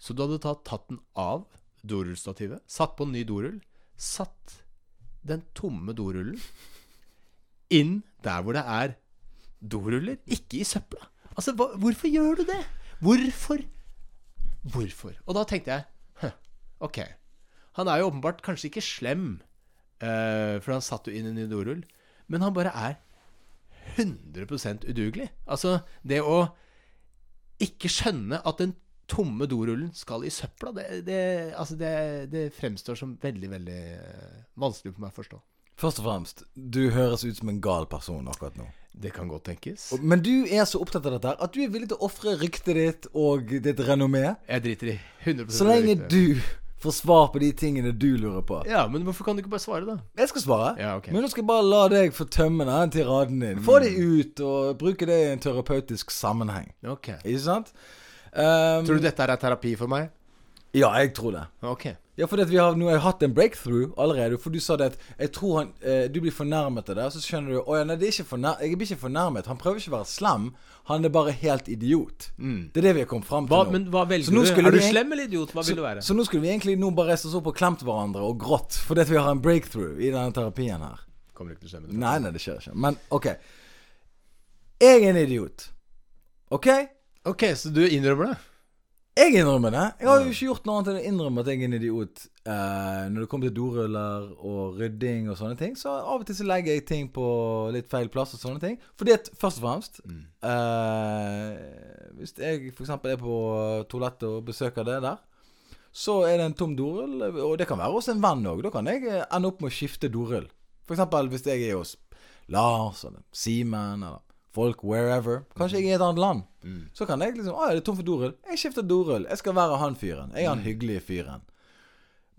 Så du hadde tatt, tatt den av dorullstativet, satt på en ny dorull, satt den tomme dorullen inn der hvor det er doruller, ikke i søpla. Altså, hva, hvorfor gjør du det? Hvorfor? Hvorfor? Og da tenkte jeg, «Hø, ok, han er jo åpenbart kanskje ikke slem, eh, for han satt jo inn i en ny dorull, men han bare er 100% udugelig. Altså, det å ikke skjønne at den tomme dorullen skal i søpla, det, det, altså det, det fremstår som veldig, veldig eh, vanskelig for meg å forstå.
Først og fremst, du høres ut som en gal person akkurat nå.
Det kan godt tenkes.
Og- Men du er så opptatt av dette her at du er villig til å ofre ryktet ditt og ditt renommé,
Jeg driter i 100
så lenge
riktig.
du får svar på de tingene du lurer på.
Ja, men hvorfor kan du ikke bare svare, da?
Jeg skal svare.
Ja, ok.
Men nå skal jeg bare la deg få tømme den tiraden din. Få det
Mm.
ut, og bruke det i en terapeutisk sammenheng.
Ok
Ikke sant? Ehm,
Tror du dette er terapi for meg?
Ja, jeg tror det.
Ok.
Ja, for vi har, nå har jeg hatt en breakthrough allerede. For du sa det at jeg tror han, eh, du blir fornærmet av det. og Så skjønner du Å ja, nei, det er ikke fornær jeg blir ikke fornærmet. Han prøver ikke å være slem. Han er bare helt idiot.
Mm.
Det er det vi har kommet fram til
Hva,
nå.
men hva velger
Så nå
du?
skulle
Er du
vi-
slem eller idiot? Hva
så,
vil du være?
så nå skulle vi egentlig nå bare reist oss opp og klemt hverandre og grått fordi at vi har en breakthrough i denne terapien her.
Kommer ikke til å skjemme deg.
Nei, nei, det skjer ikke. Men OK. Jeg er en idiot. OK?
Ok, så du innrømmer det?
Jeg innrømmer det. Jeg har jo ikke gjort noe annet enn å innrømme at jeg er en idiot. Eh, når det kommer til doruller og rydding og sånne ting, så av og til så legger jeg ting på litt feil plass og sånne ting. Fordi at først og fremst
Mm.
eh, Hvis jeg f.eks. er på toalettet og besøker det der, så er det en tom dorull. Og det kan være hos en venn òg. Da kan jeg eh, ende opp med å skifte dorull. F.eks. hvis jeg er hos Lars eller Simen eller folk wherever. Kanskje jeg er i et annet land. Så kan jeg liksom Å, er det er tom for dorull? Jeg skifter dorull. Jeg skal være han fyren. Jeg er han hyggelige fyren.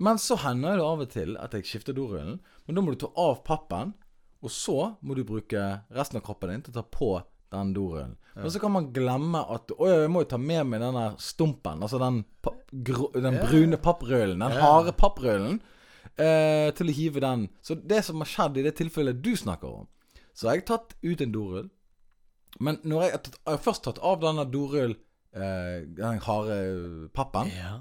Men så hender det av og til at jeg skifter dorullen. Men da må du ta av pappen, og så må du bruke resten av kroppen din til å ta på den dorullen. Men så kan man glemme at Å ja, jeg må jo ta med meg den der stumpen. Altså den, pa- gro, den brune papprullen. Den harde papprullen. Eh, til å hive den. Så det som har skjedd i det tilfellet du snakker om, så har jeg tatt ut en dorull. Men når jeg har tatt, jeg har først tatt av denne dorull eh, Den harde pappen
Ja.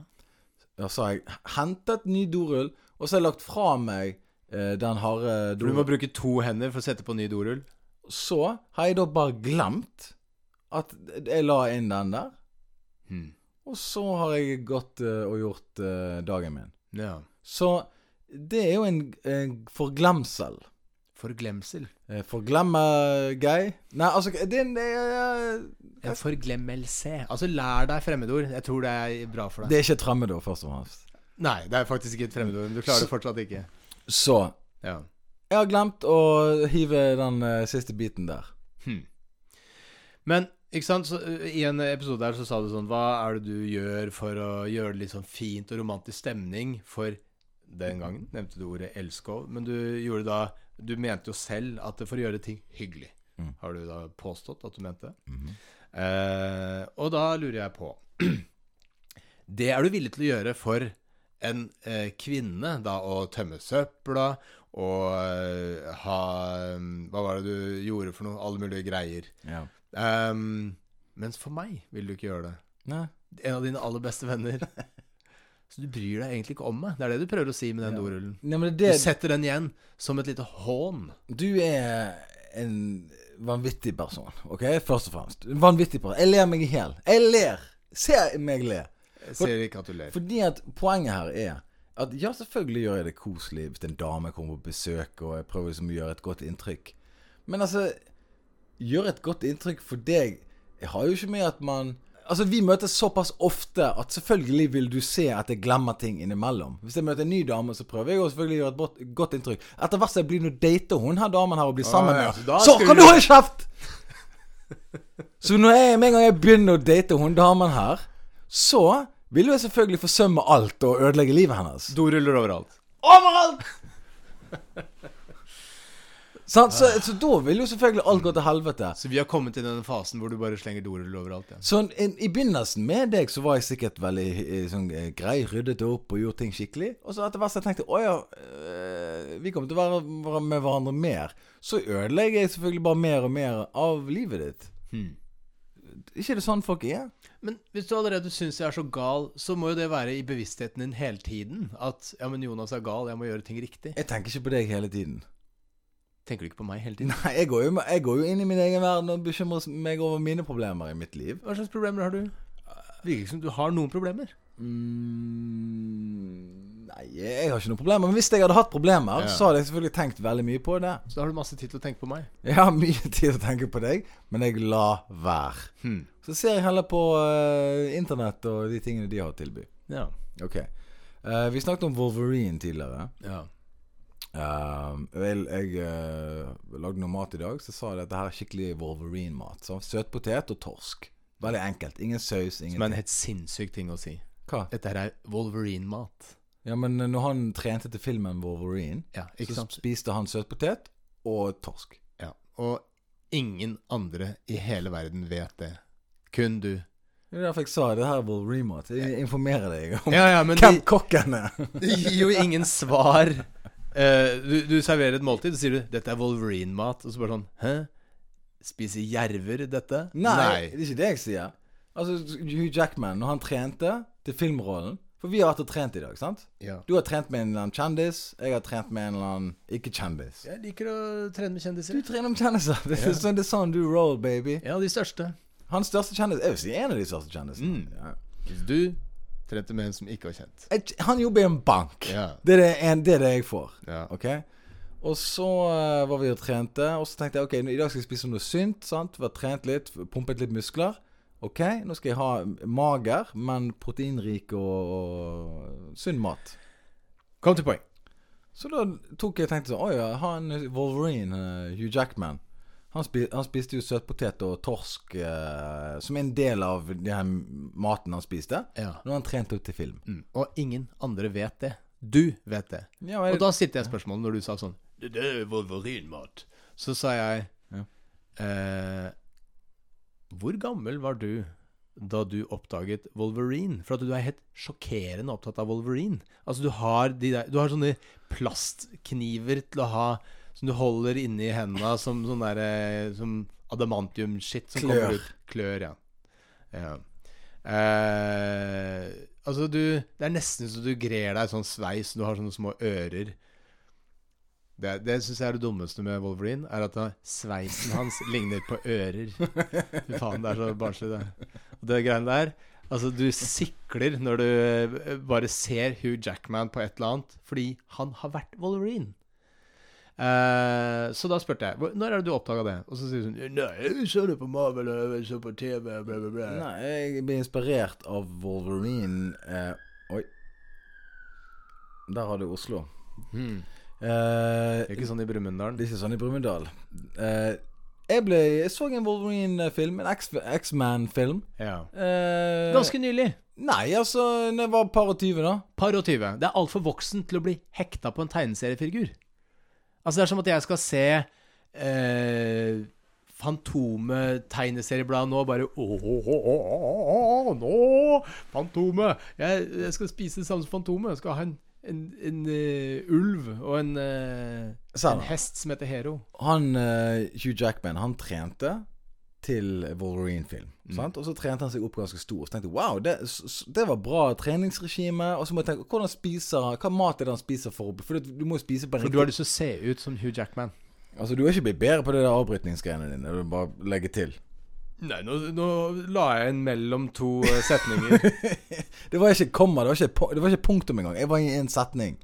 Og så har jeg hentet ny dorull Og så har jeg lagt fra meg eh, den harde
For du må
dorull
bruke to hender for å sette på ny dorull?
Så har jeg da bare glemt At jeg la inn den der
Hmm.
Og så har jeg gått eh, og gjort eh, dagen min
Ja.
Så det er jo en, en forglemsel
Forglemsel.
Eh, Forglemme gøy Nei, altså det er eh, en det er-
En forglemmelse. Altså, lær deg fremmedord. Jeg tror det er bra for deg.
Det er ikke et fremmedord først og fremst
Nei, det er faktisk ikke et fremmedord. men Du klarer det fortsatt ikke.
Så
Ja.
Jeg har glemt å hive den eh, siste biten der.
Men ikke sant, så, ø, i en episode her så sa du sånn Hva er det du gjør for å gjøre det litt sånn fint og romantisk stemning for Den gangen nevnte du ordet elskov, men du gjorde da Du mente jo selv at det for å gjøre ting hyggelig. Har du da påstått at du mente? eh, og da lurer jeg på [clears throat] Det er du villig til å gjøre for en eh, kvinne, da, å tømme søpla og eh, ha mm, Hva var det du gjorde for noe? Alle mulige greier.
Ja.
Ehm, mens for meg vil du ikke gjøre det.
Nei.
En av dine aller beste venner. Så du bryr deg egentlig ikke om meg. Det er det du prøver å si med den dorullen.
Nei, men
Du
det,
setter den igjen som et lite hån.
du er en vanvittig person, OK? Først og fremst. En Vanvittig person. Jeg ler meg i hjel. Jeg ler. Se meg le.
Jeg ser ikke at du ler.
Fordi at poenget her er at ja, selvfølgelig gjør jeg det koselig hvis en dame kommer på besøk, og jeg prøver liksom å gjøre et godt inntrykk. Men altså Gjøre et godt inntrykk for deg Jeg har jo ikke med at man Altså, vi møtes såpass ofte at selvfølgelig vil du se at jeg glemmer ting innimellom. Hvis jeg møter en ny dame, så prøver jeg å selvfølgelig gjøre et bot- godt inntrykk. Etter hvert som jeg blir nå dater hun her damen her og blir sammen
ja,
med
så
henne,
da
så
skal
kan
du-
du holde kjeft! Så når jeg, med en gang jeg begynner å date hun damen her, så vil jo jeg selvfølgelig forsømme alt og ødelegge livet hennes.
Doruller overalt.
Overalt! Sant? Så, så da vil jo selvfølgelig alt gå til helvete.
Så vi har kommet til den fasen hvor du bare slenger dorull overalt. Ja.
Så en, en, i begynnelsen med deg så var jeg sikkert veldig eh, sånn, eh, grei, ryddet opp og gjort ting skikkelig. Og så etter hvert så tenkte jeg å ja, eh, vi kommer til å være, være med hverandre mer. Så ødelegger jeg selvfølgelig bare mer og mer av livet ditt.
Hmm.
Ikke er det sånn folk er?
Men hvis du allerede syns jeg er så gal, så må jo det være i bevisstheten din hele tiden. At ja, men Jonas er gal, jeg må gjøre ting riktig.
Jeg tenker ikke på deg hele tiden.
Tenker du ikke på meg hele tiden?
Nei, jeg går jo, jeg går jo inn i min egen verden og bekymrer meg over mine problemer i mitt liv.
Hva slags problemer har du? Virker ikke som du har noen problemer.
Mm, nei, jeg har ikke noen problemer. Men hvis jeg hadde hatt problemer,
Ja.
så hadde jeg selvfølgelig tenkt veldig mye på det.
Så da har du masse tid til å tenke på meg.
Jeg har mye [laughs] tid å tenke på deg, men jeg lar være.
Hmm.
Så ser jeg heller på eh, internett og de tingene de har å tilby.
Ja.
Ok. Eh, vi snakket om Wolverine tidligere.
ja.
Eh, vel, jeg eh, lagde noe mat i dag, så sa jeg at dette her er skikkelig Wolverine-mat. Så Søtpotet og torsk. Veldig enkelt. Ingen saus,
Som er
ingenting.
en helt sinnssyk ting å si.
Hva?
Dette her er Wolverine-mat.
Ja, men når han trente til filmen Wolverine,
Ja, ikke
så
sant?
spiste han søtpotet og torsk.
Ja. Og ingen andre i hele verden vet det. Kun du.
Det er derfor jeg sa det her er Wolverine-mat. Jeg informerer deg om
Ja, ja, men
hvem kokken er.
Det gir jo ingen svar. Eh, du, du serverer et måltid, så sier du 'dette er Wolverine-mat', og så bare sånn 'hæ? Spiser jerver dette?
[laughs] Nei, det er ikke det jeg sier. Altså, Hugh Jackman, når han trente til filmrollen For vi har vært og trent i dag, sant?
Ja.
Du har trent med en eller annen kjendis, jeg har trent med en eller annen ikke-kjendis.
Jeg liker å trene med
Du
kjendiser.
trener med kjendiser. Det er, sånn, det er sånn du roll, baby.
Ja, de største.
Hans største kjendis Jeg vil si en av de største kjendisene. Ja.
Hvis du trente med en som ikke var kjent.
Jeg- Han jobber i en bank.
Ja.
Det, er det, en, det er det jeg får.
Ja.
Ok Og så eh, var vi og trente, og så tenkte jeg ok, nå- i dag skal jeg spise noe sunt. sant? Vi har trent litt, pumpet litt muskler. Ok, nå skal jeg ha mager, men proteinrik og, og sunn mat.
Kom til poeng.
Så da tok jeg tenkte sånn Å ja, ha en Wolverine, eh, Hugh Jackman. Han, spi, han spiste jo søtpotet og torsk eh, som en del av den her maten han spiste.
Ja.
Når han trente opp til film.
Mm. Og ingen andre vet det. Du vet det.
Ja,
Og da sitter jeg spørsmålet når du sa sånn Det det er Wolverine-mat. Så sa jeg
Ja.
eh, Hvor gammel var du da du oppdaget Wolverine? For at du er helt sjokkerende opptatt av Wolverine. Altså, du har, de der, du har sånne plastkniver til å ha som du holder inni hendene som sånn der eh, Som adamantium-shit som
Klør.
kommer ut. Klør. Ja. ja. Eh, altså, du Det er nesten så du grer deg i sånn sveis, du har sånne små ører. Det, det syns jeg er det dummeste med Wolverine, er at da sveisen hans ligner på ører. Fy faen, det er så barnslig, det. Og det greiene der Altså, du sikler når du eh, bare ser Hugh Jackman på et eller annet, fordi han har vært Wolverine. Eh, så da spurte jeg "Hvor- Når er det du oppdaga det? Og så sier hun sånn Nei, jeg så det på Marvel, og jeg så på TV, bla, bla, bla.
Nei, jeg ble inspirert av Wolverine eh, Oi. Der har du Oslo.
Hmm.
Eh,
Det er ikke sånn i Brumunddal.
det er ikke sånn i Brumunddal. Eh, jeg, ble, jeg så en Wolverine-film, en X- X-Man-film.
Ja.
Eh,
Ganske nylig.
Nei, altså Når jeg var par og tyve, da.
Par og tyve. Det er altfor voksen til å bli hekta på en tegneseriefigur. Altså, det er som at jeg skal se eh, Fantomet tegneseriebladet nå, og bare åh, åh, åh, åh, åh, åh, nå! Fantomet! Jeg, jeg skal spise det samme som Fantomet. Jeg skal ha en, en, en eh, ulv og en, eh,
Samme.
en hest som heter Hero.
Han eh, Hugh Jackman, han trente til Wolverine-film. sant? Og så trente han seg opp ganske stor. Så tenkte jeg wow, det, s- s- det var bra treningsregime. Og så må jeg tenke hvordan spiser han Hva mat er det han spiser for? å bli- For du, du må jo spise på en
For du har lyst til å se ut som Hugh Jackman.
Altså, du er ikke blitt bedre på det der avbrytningsgreiene dine. Du bare legger til.
Nei, nå, nå la jeg en mellom to eh, setninger.
Det var ikke komma, det var ikke, pu- det var ikke punktum engang. Jeg var i en setning.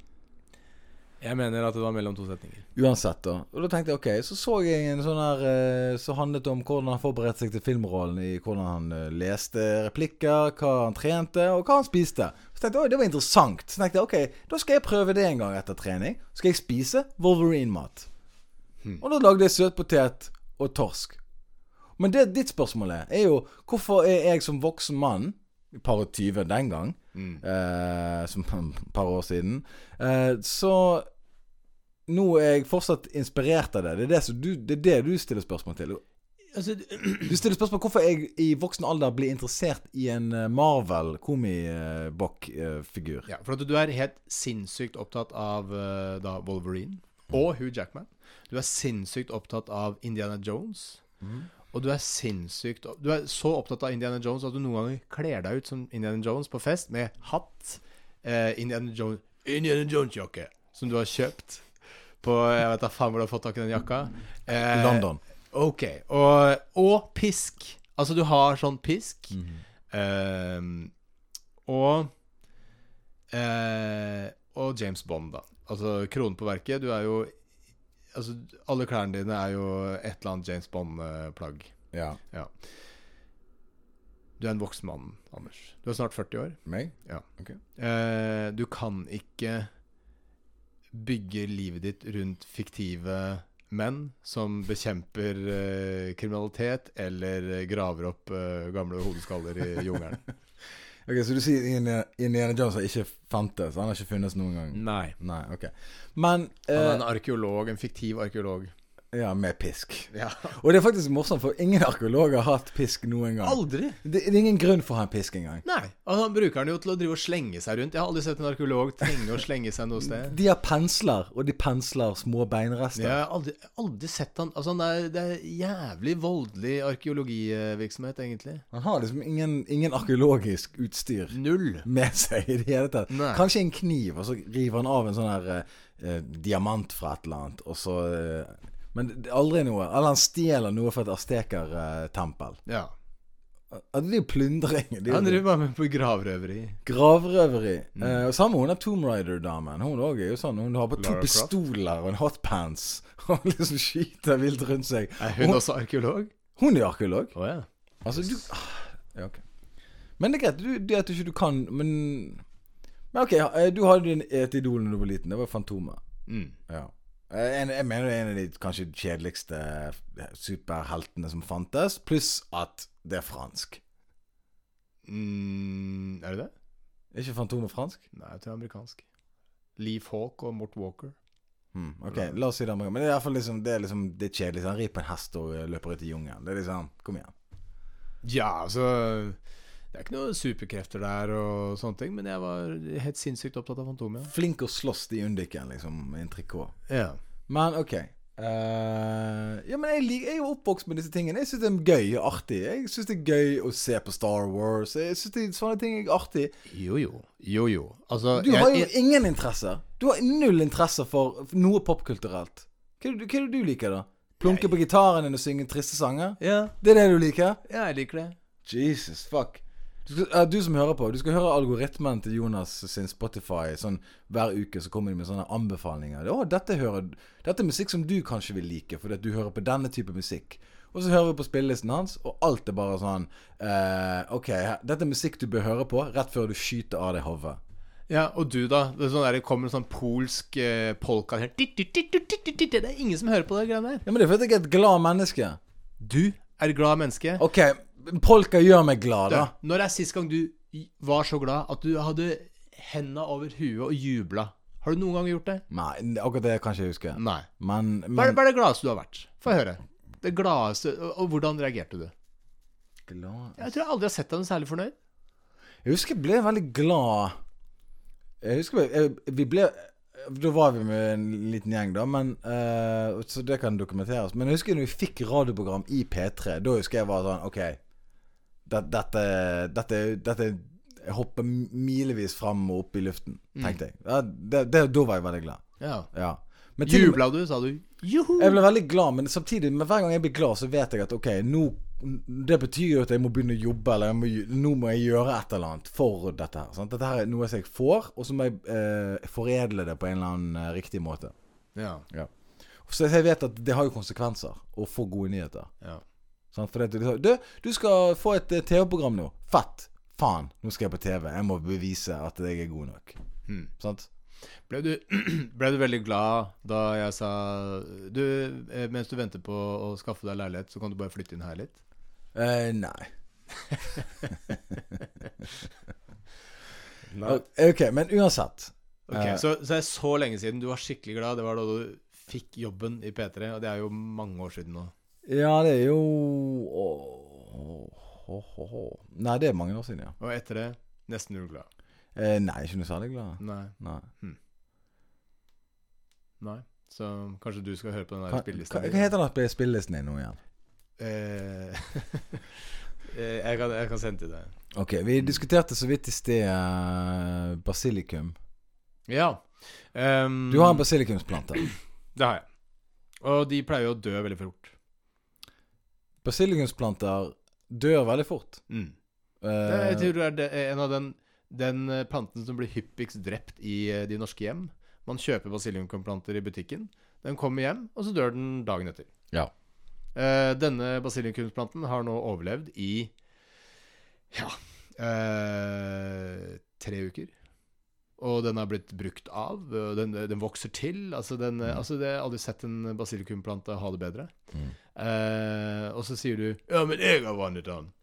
jeg mener at det var mellom to setninger.
Uansett, da. Og da tenkte jeg ok, så så jeg en sånn her eh, som handlet om hvordan han forberedte seg til filmrollen. I hvordan han eh, leste replikker, hva han trente, og hva han spiste. Så tenkte jeg oi, det var interessant. Så tenkte jeg ok, da skal jeg prøve det en gang etter trening. Så skal jeg spise Wolverine-mat. Og da lagde jeg søtpotet og torsk. Men det ditt spørsmål er, er jo hvorfor er jeg som voksen mann, par og tyve den gang, eh, som [laughs] et par år siden, eh, så nå er jeg fortsatt inspirert av det. Det er det, som du, det er det du stiller spørsmål til.
Altså,
Du stiller spørsmål hvorfor jeg i voksen alder blir interessert i en eh, Marvel-komibok-figur.
Ja, for at du er helt sinnssykt opptatt av eh, da Wolverine og Hugh Jackman. Du er sinnssykt opptatt av Indiana Jones. Og du er sinnssykt opp- Du er så opptatt av Indiana Jones at du noen ganger kler deg ut som Indiana Jones på fest med hatt, eh, Indiana Jones Indiana Jones-jakke som du har kjøpt på Jeg vet da faen hvor du har fått tak i den jakka. Eh,
London.
Ok, og, og pisk. Altså, du har sånn pisk.
mhm.
Ehm, og eh, Og James Bond, da. Altså kronen på verket. Du er jo Altså, alle klærne dine er jo et eller annet James Bond-plagg.
Ja.
Ja. Du er en voksen mann, Anders. Du er snart 40 år.
Meg?
Ja.
Ok.
Eh, du kan ikke bygger livet ditt rundt fiktive menn som bekjemper eh, kriminalitet eller eh, graver opp eh, gamle hodeskaller i jungelen.
Ok, Så du sier Indiana, Indiana Jones har ikke fantes? Han har ikke funnes noen gang?
[laughs] Nei.
Nei, ok. Mm. Men
Han er
eh,
en arkeolog, en fiktiv arkeolog.
Ja, med pisk.
Ja.
Og det er faktisk morsomt, for ingen arkeologer har hatt pisk noen gang.
Aldri!
Det, det er ingen grunn for å ha en pisk engang.
Nei. Og han bruker den jo til å drive og slenge seg rundt. Jeg har aldri sett en arkeolog trenge å slenge seg noe sted. [laughs]
De har pensler, og de pensler små beinrester.
Jeg har aldri, aldri sett han Altså, han er, det er jævlig voldelig arkeologivirksomhet, egentlig.
Han har liksom ingen, ingen arkeologisk utstyr
Null.
med seg i det hele tatt.
Nei.
Kanskje en kniv, og så river han av en sånn her eh, eh, diamant fra et eller annet, og så eh, Men det er aldri noe. Eller han stjeler noe fra et aztekertempel.
Ja.
Ja, det er jo plyndring. Det
Han Mm.
er jo
driver bare med på gravrøveri.
gravrøveri. Eh, og samme hun er Tomb Raider-damen. Hun også er jo sånn. Hun har på to
Lara Croft.
pistoler og en hotpants [laughs] og liksom skyter vilt rundt seg.
Er hun også arkeolog?
Hun er arkeolog.
Å ja.
Altså, du ah, Ja, ok. Men det er greit, du, det at du ikke du kan Men Men ok, eh, du hadde din- et idol da du var liten. Det var Fantomet.
Mm.
Ja. Eh, En, jeg mener det er en av de kanskje kjedeligste eh, superheltene som fantes, pluss at det er fransk.
Mm, er det det?
Er ikke Fantomet fransk?
Nei, jeg tror det er amerikansk. Lee Falk og Mort Walker.
Hmm, ok, la oss si det andre gang. Men det er i hvert fall liksom Det er liksom Det er kjedelig. så Han rir på en hest og eh, løper ut i jungelen. Det er liksom Kom igjen.
Ja, altså Det er ikke noen superkrefter der og sånne ting, men jeg var helt sinnssykt opptatt av Fantomet.
Flink å slåss, de undiken, liksom. En trikot.
Ja.
Men ok. Eh, ja, men jeg, lik, jeg er jo oppvokst med disse tingene. Jeg syns det er gøy og artig. Jeg syns det er gøy å se på Star Wars. Jeg synes det, Sånne ting er artig.
Jo, jo. Jo, jo. Altså
Du har jo ingen interesser. Du har null interesse for for noe popkulturelt. Hva er det du- hva er det du liker, da? Plunke på gitaren din og synge triste sanger?
ja,
Det er det du liker?
ja, jeg liker det.
Jesus fuck. Du, skal, eh, du som hører på, du skal høre algoritmen til Jonas sin Spotify. Sånn Hver uke så kommer de med sånne anbefalinger. Å, dette, hører, dette er musikk som du kanskje vil like, fordi at du hører på denne type musikk. Og så hører vi på spillelisten hans, og alt er bare sånn eh, OK, her- dette er musikk du bør høre på rett før du skyter av deg hodet.
Ja, og du, da? Det, er sånn der, det kommer en sånn polsk eh, polka her. Titt, titt, titt, titt, titt, titt, titt. Det er ingen som hører på det greiene der.
Ja, men det er fordi jeg er et glad menneske.
Du er et glad menneske.
OK, polka gjør meg glad, da.
Når er sist gang du i- var så glad at du hadde henda over huet og jubla? Har du noen gang gjort det?
Nei, akkurat det kan ikke jeg huske.
Nei.
Men,
Hva er,
men
hva er det gladeste du har vært? Få høre. Det gladeste, og, og hvordan reagerte du?
glad.
Jeg tror jeg aldri har sett deg noe særlig fornøyd.
Jeg husker jeg ble veldig glad Jeg husker jeg, jeg, vi ble Da var vi med en liten gjeng, da, men eh, Så det kan dokumenteres. Men jeg husker når vi fikk radioprogram i P3, da husker jeg var sånn OK, det, dette, dette, dette Jeg hopper milevis fram og opp i luften, tenkte jeg. Ja, det, det, da var jeg veldig glad.
Ja.
Ja. Men til og med-
Jubla du, sa du. Juhu!
jeg ble veldig glad, men samtidig Men hver gang jeg blir glad, så vet jeg at ok, nå Det betyr jo at jeg må begynne å jobbe, eller jeg må, gj- nå må jeg gjøre et eller annet for dette her. Sant? Dette her er noe som jeg får, og så må jeg eh, foredle det på en eller annen eh, riktig måte.
Ja.
Så jeg vet at det har jo konsekvenser å få gode nyheter.
Ja.
Sant? For det, liksom, du, du skal få et eh, TV-program nå. Fett! Faen, nå skal jeg på TV. Jeg må bevise at jeg er god nok.
Hmm.
Sant?
Ble du, [clears throat] ble du veldig glad da jeg sa Du, eh, mens du venter på å skaffe deg leilighet, så kan du bare flytte inn her litt?
Eh, nei.
Nei.
Ok, men uansett.
Ok,
Eh.
så, så det er så lenge siden du var skikkelig glad. Det var da du fikk jobben i P3, og det er jo mange år siden nå.
Ja, det er jo åh, åh, åh, åh. Nei, det er mange år siden, ja.
Og etter det nesten uglad.
Eh, nei, ikke noe særlig glad.
Nei.
Nei.
Nei. Så kanskje du skal høre på den
Hva,
der
hva,
spillelista
hva heter den på spillelisten din nå igjen?
Eh, [laughs] eh, jeg, kan, jeg kan sende til deg.
Ok, vi diskuterte så vidt i sted eh, basilikum.
Ja. ehm,
Du har en basilikumsplante.
Det har jeg. Og de pleier jo å dø veldig fort.
Basilikumsplanter dør veldig fort.
Mm. Det,
Eh,
jeg tror det er det, en av den, den eh, planten som blir hyppigst drept i eh, de norske hjem. Man kjøper basilikumkranter i butikken. Den kommer hjem, og så dør den dagen etter.
Ja.
Eh, denne basilikumsplanten har nå overlevd i ja eh, tre uker. Og den har blitt brukt av, og den, den vokser til. Altså, den,
Mm.
altså det, Jeg har aldri sett en basilikumplante ha det bedre. Eh, og så sier du 'Ja, men jeg har vannet den'.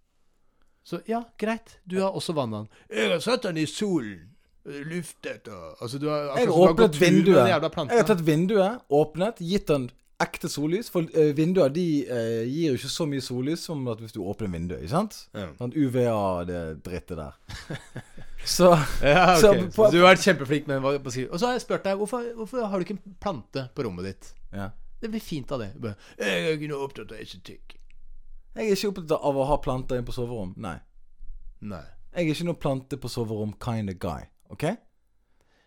Så ja, greit, du har også vannet den. 'Jeg har satt den i solen'. Luftet og altså, du har,
Jeg
akkurat som
har
du gått
åpnet
tur med den
vinduet.
jævla planten.
Jeg har tatt vinduet, åpnet, gitt den ekte sollys. For eh, vinduer de eh, gir jo ikke så mye sollys som at hvis du åpner vinduet. ikke sant? [laughs]
Ja.
Sånn UVA, det drittet der. Så
Ja, ok.
Så
Så,
på-
du har vært kjempeflink med hva- hva sier- Og så har jeg spurt deg hvorfor, hvorfor har du ikke en plante på rommet ditt.
ja.
Det blir fint av det. Du Bare, jeg er ikke noe opptatt av estetikk.
Jeg er ikke opptatt av å ha planter inn på soverom. Nei.
Nei.
Jeg er ikke noe plante på soverom kind of guy. OK?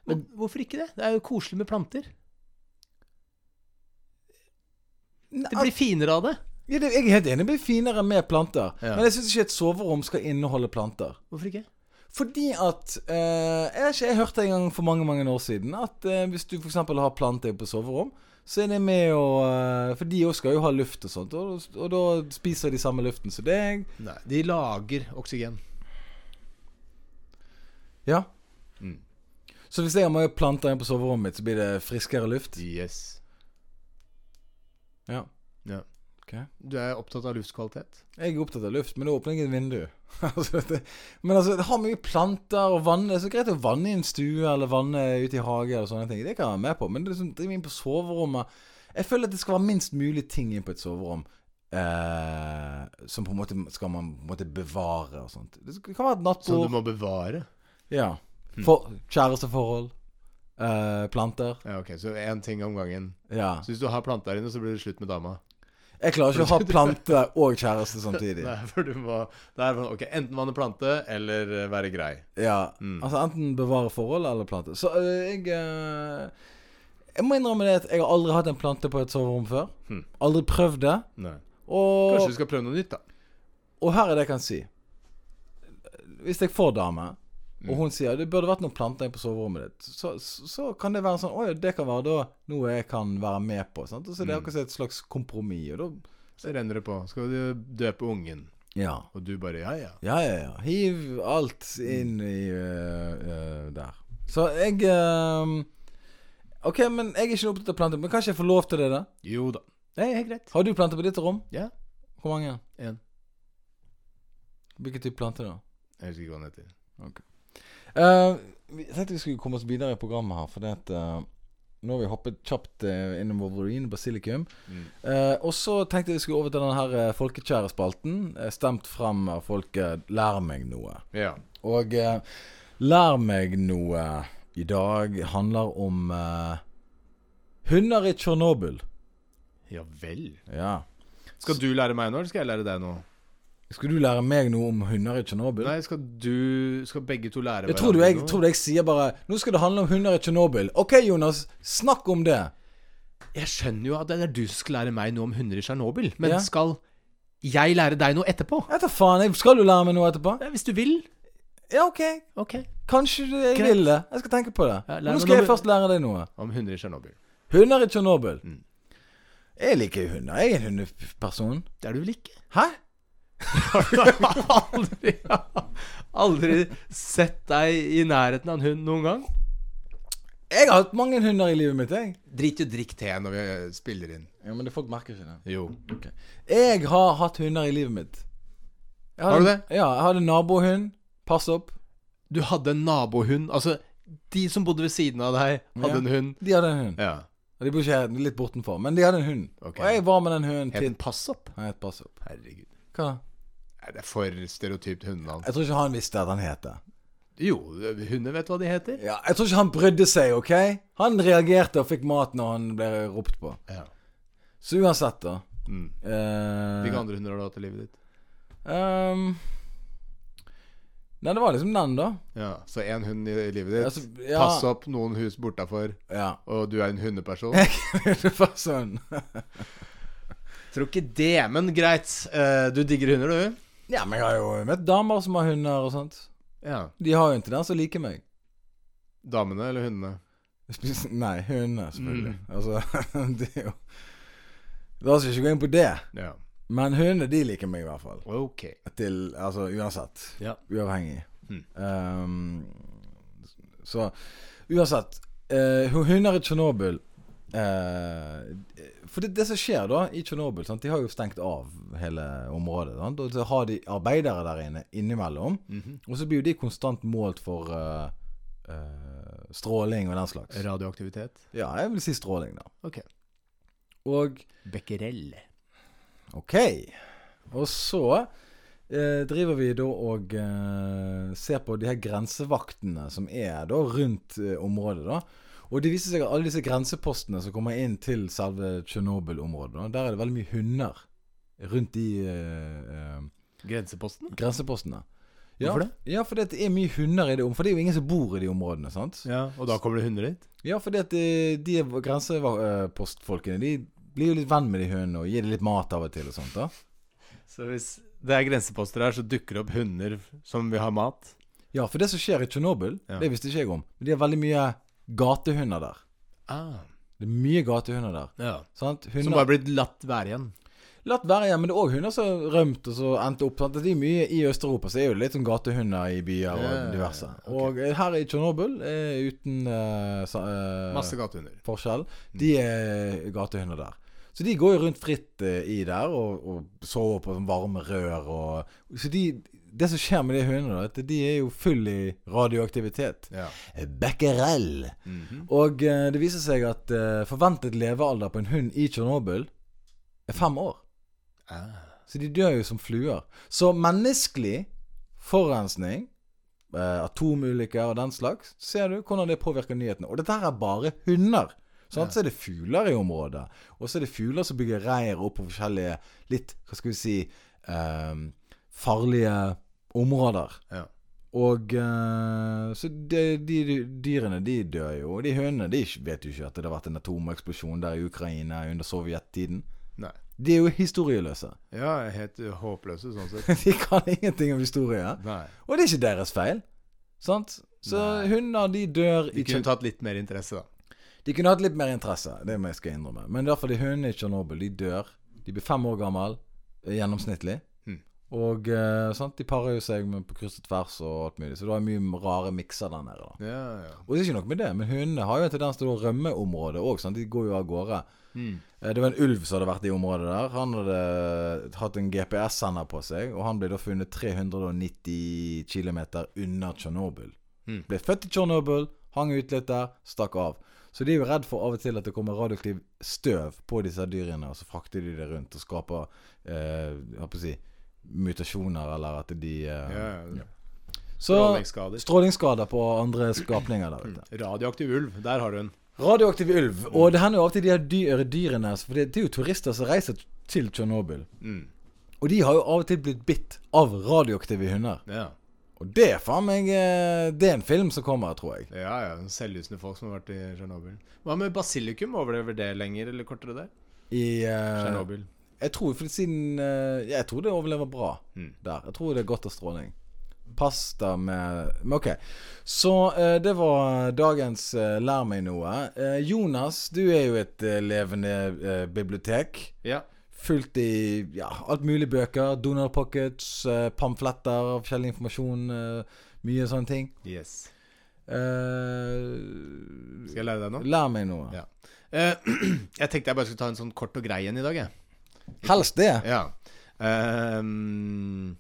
Men hvorfor ikke det? Det er jo koselig med planter.
Nei,
Det blir finere av det.
ja, det- jeg er helt enig, det blir finere med planter.
Ja.
Men jeg syns ikke et soverom skal inneholde planter.
Hvorfor ikke?
Fordi at eh, Jeg vet ikke, jeg hørte en gang for mange mange år siden at eh, hvis du f.eks. har planter på soverom, så er det med å eh, For de òg skal jo ha luft og sånt, og, og da spiser de samme luften som deg.
Nei, De lager oksygen.
Ja. Så hvis jeg har mange planter inne på soverommet mitt, så blir det friskere luft?
Yes.
Ja.
Ja.
Ok.
Du er opptatt av luftkvalitet?
Jeg er opptatt av luft, men da åpner jeg et vindu. [laughs] altså, det, men altså, ha mye planter og vann. Det er så greit å vanne i en stue eller vanne ute i hage og sånne ting. Det kan jeg være med på, men det er liksom, drive inn på soverommet Jeg føler at det skal være minst mulig ting inn på et soverom. Eh, som på en måte skal man på en måte bevare og sånt. Det skal- det kan være et
Som du
nattbord.
må bevare?
Ja. For, kjæresteforhold. Eh, planter.
Ja, ok, Så én ting om gangen.
Ja.
Så hvis du har planter her inne, så blir det slutt med dama?
Jeg klarer ikke å ha plante og kjæreste samtidig.
Nei, for du må det er sånn, Ok, enten vanne plante, eller eh, være grei.
Ja, altså enten bevare forholdet eller plante. Så øh, jeg øh, Jeg må innrømme det at jeg har aldri hatt en plante på et soverom før. Aldri prøvd det.
Nei. Kanskje
Og,
du skal prøve noe nytt, da.
og her er det jeg kan si. Hvis jeg får dame, og hun sier det burde vært noen planter på soverommet ditt, så, så, så kan det være sånn Å ja, det kan være da noe jeg kan være med på. Sant? Og så er det akkurat som et slags kompromiss. Og da
Så renner det på. Skal du døpe ungen?
ja.
Og du bare ja, ja.
Ja, ja, ja. Hiv alt
Mm.
inn i øh, øh, der. Så jeg øh, Ok, men jeg er ikke opptatt av planter. Men kanskje jeg får lov til det, da?
Jo da. Det er helt greit.
Har du planter på ditt rom?
Ja.
Hvor mange?
En.
Hvilken type planter, da?
Jeg husker ikke hva den heter.
Eh, vi- jeg tenkte vi skulle komme oss videre i programmet her, fordi at eh, nå har vi hoppet kjapt eh, innom Wolverine, basilikum.
Mm.
Eh, og så tenkte jeg vi skulle over til den her eh, folkekjære spalten. eh, stemt frem av folket 'Lær meg noe'.
Ja.
Og eh, lær meg noe i dag handler om eh, hunder i Tsjernobyl.
Ja vel.
Ja.
Skal du lære meg nå, eller skal jeg lære deg nå?
Skal du lære meg noe om hunder i Tsjernobyl?
Nei, skal du Skal begge to lære
Jeg tror, du, jeg
noe?
tror du jeg sier bare 'Nå skal det handle om hunder i Tsjernobyl'. OK, Jonas, snakk om det.
Jeg skjønner jo at det er du som skal lære meg noe om hunder i Tsjernobyl, men
Ja.
skal jeg lære deg noe etterpå?
Jeg tar faen. Jeg skal du lære meg noe etterpå?
Ja, Hvis du vil.
Ja, OK.
Ok.
Kanskje du- jeg
Greit.
vil det. Jeg skal tenke på det.
Ja, lær
Men Nå
meg
skal
noe
jeg
om-
først lære deg noe.
Om hunder i Tsjernobyl.
Hunder i Tsjernobyl. Jeg liker jo hunder. Jeg er en hundeperson.
Det er du vel [laughs] ikke?
Hæ?
aldri, aldri sett deg i nærheten av en hund noen gang?
Jeg har hatt mange hunder i livet mitt, jeg.
Drit i å drikke te når vi eh, spiller inn.
Ja, men det folk merker ikke det.
Jo.
Jeg har hatt hunder i livet mitt. Jeg
Har du
hadde- Ja, jeg hadde en nabohund. Pass opp.
Du hadde en nabohund. Altså, de som bodde ved siden av deg, hadde
Ja.
en hund.
De hadde en hund.
Ja.
Og De bor ikke her, de er litt bortenfor, men de hadde en hund.
Ok.
Og jeg var med den hunden
Het
til
den Pass opp?
Han het Pass opp.
Herregud.
Hva?
Nei, det er for stereotypt hundenavn.
Jeg tror ikke han visste at han het det.
Jo, hunder vet hva de heter.
Ja, jeg tror ikke han brydde seg, OK? Han reagerte og fikk mat når han ble ropt på.
Ja.
Så uansett, da.
Mm.
eh,
Hvilke andre hunder har du hatt i livet ditt?
ehm, Nei, det var liksom den, da.
Ja, Så én hund i livet ditt.
Altså, ja.
Pass opp noen hus bortafor,
Ja.
og du er en [laughs] hundeperson.
[laughs] det var sånn.
Tror ikke det, men greit. Eh, du digger hunder, du?
Ja, men jeg har jo møtt damer som har hunder og sånt.
Ja.
De har jo en tendens til å like meg.
Damene eller hundene?
Spes- Nei, hundene, selvfølgelig. Altså, [laughs] det er jo La oss ikke gå inn på det,
Ja.
men hundene de liker meg i hvert fall.
Ok.
Til, altså uansett.
Ja.
Uavhengig.
Mm.
Ehm, Så uansett eh, hun- Hunder i Tsjernobyl eh, For det, det som skjer da i Tsjernobyl sant, De har jo stengt av hele området. Sant? Og så har de arbeidere der inne innimellom.
Mhm.
Og så blir jo de konstant målt for eh, eh, stråling og den slags.
Radioaktivitet.
Ja, jeg vil si stråling, da.
Ok.
Og
Becquerel.
Ok. Og så eh, driver vi da og eh, ser på de her grensevaktene som er da rundt eh, området. da. Og det viser seg at alle disse grensepostene som kommer inn til selve Tsjernobyl-området, da, der er det veldig mye hunder rundt de eh, eh,
Grenseposten?
grensepostene. Ja,
Hvorfor det?
Ja, fordi at det er mye hunder i det området. For det er jo ingen som bor i de områdene, sant?
Ja, og da kommer det hunder dit?
Ja, fordi at de, de grensepostfolkene, de blir jo litt venn med de hundene og gir dem litt mat av og til og sånt. da.
Så hvis
Det er grenseposter her, så dukker det opp hunder som vil ha mat.
Ja, for det som skjer i Tsjernobyl,
Ja.
det visste ikke jeg om. Men de har veldig mye gatehunder der.
ah,
Det er mye gatehunder der.
ja.
Sant?
Som
Hunder
bare blitt latt være igjen.
Latt være igjen, men det er òg hunder som har rømt og så endte opp. Sant? Det er mye I Øst-Europa så er det litt sånn gatehunder i byer og
Ja,
diverse.
ok.
Og her i Tsjernobyl, eh, uten eh, sa, eh,
Masse gatehunder.
forskjell, de er gatehunder der. Så de går jo rundt fritt eh, i der og, og sover på sånn varme rør og Så de, det som skjer med de hundene, da, at de er jo full i radioaktivitet.
Ja.
Becquerel.
Mhm.
Og eh, det viser seg at eh, forventet levealder på en hund i Tsjernobyl er fem år.
Ah.
Så de dør jo som fluer. Så menneskelig forurensning, eh, atomulykker og den slags, ser du hvordan det påvirker nyhetene. Og dette her er bare hunder. Sant? Så er det fugler i området. Og så er det fugler som bygger reir opp på forskjellige litt, hva skal vi si, eh, farlige områder.
Ja.
Og eh, så de, de dyrene, de dør jo. Og de hønene, de vet jo ikke at det har vært en atomeksplosjon der i Ukraina under sovjettiden.
Nei.
De er jo historieløse.
Ja, helt uh, håpløse sånn [laughs]
[laughs]
sett.
De kan ingenting om historie.
Nei.
Og det er ikke deres feil. Sant? Så
Nei.
hunder, de dør
De
i Tsjer-
kunne tatt litt mer interesse, da.
De kunne hatt litt mer interesse, det må jeg skal innrømme. Men i hvert fall de hundene i Tsjernobyl, de dør. De blir fem år gammel eh, gjennomsnittlig.
Mm.
Og eh, sant? de parer jo seg med på kryss og tvers og alt mulig. Så du har mye rare mikser der nede. da.
Ja, ja.
Og det er ikke nok med det, men hundene har jo en tendens til å rømme området òg. De går jo av gårde.
Mm.
Eh, Det var en ulv som hadde vært i området der. Han hadde hatt en GPS-sender på seg, og han ble da funnet 390 km unna Tsjernobyl.
Mm.
Ble født i Tsjernobyl, hang ut litt der, stakk av. Så de er jo redd for av og til at det kommer radioaktiv støv på disse dyrene, og så frakter de det rundt og skaper eh, jeg holdt på å si, mutasjoner, eller at de eh,
ja, ja.
Så
Strålingsskader.
strålingsskader på andre skapninger der ute.
Radioaktiv ulv, der har du en.
Radioaktiv ulv.
Mm.
Og det hender jo alltid de her dyre dyrene altså, For det det er jo turister som reiser t- til Tsjernobyl.
Mm.
Og de har jo av og til blitt bitt av radioaktive hunder.
Ja.
Og det er faen meg eh, Det er en film som kommer, tror jeg.
Ja, ja. Selvlysende folk som har vært i Tsjernobyl. Hva med basilikum? Overlever det lenger eller kortere der?
I eh,
Tsjernobyl.
Jeg tror for siden eh, Jeg tror det overlever bra
Mm.
der. Jeg tror det er godt av stråling. Pasta med Men ok. Så eh, det var dagens eh, Lær meg noe. Eh, Jonas, du er jo et eh, levende eh, bibliotek.
Ja.
Fullt i ja, alt mulig bøker. Donald Pockets, eh, pamfletter av forskjellig informasjon. Eh, mye sånne ting.
Yes.
Eh,
Skal jeg lære deg noe?
lær meg noe.
Ja. Eh, [clears throat] jeg tenkte jeg bare skulle ta en sånn kort og grei en i dag, jeg.
Helst det.
Ja. Ehm,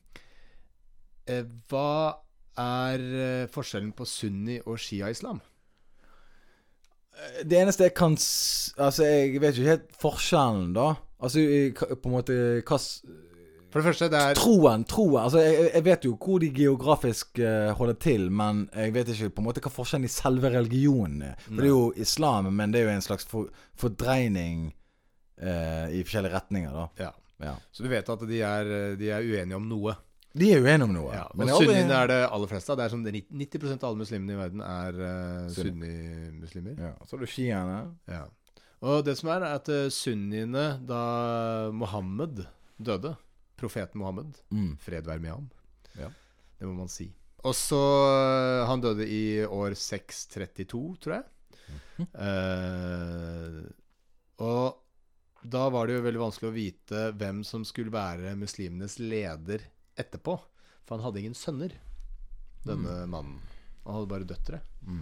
eh, hva er eh, forskjellen på sunni- og shia-islam?
Det eneste jeg kan s- Altså, jeg vet ikke helt forskjellen, da. Altså i- på en måte hva s-
For det første, det er
Troen, troen. Altså, jeg, jeg vet jo hvor de geografisk eh, holder til, men jeg vet ikke på en måte hva forskjellen i selve religionen er. For det er jo islam, men det er jo en slags for, fordreining eh, i forskjellige retninger, da.
ja.
Ja.
Så du vet at de er, eh, de er uenige om noe.
De er uenige om noe.
Ja,
men
og
jeg har aldri-
sunniene er det aller fleste av. Det er som det er 90 av alle muslimene i verden er eh,
Sunni.
sunnimuslimer.
ja, Så har du skiene.
Ja. Og det som er, er at eh, sunniene da Mohammed døde, profeten Mohammed,
Mm.
fred være med ham,
Ja.
det må man si. Og så eh, Han døde i år 632, tror jeg. Mhm. Eh, og da var det jo veldig vanskelig å vite hvem som skulle være muslimenes leder Mhm. etterpå. For han hadde ingen sønner, denne mannen. Han hadde bare døtre.
Mm.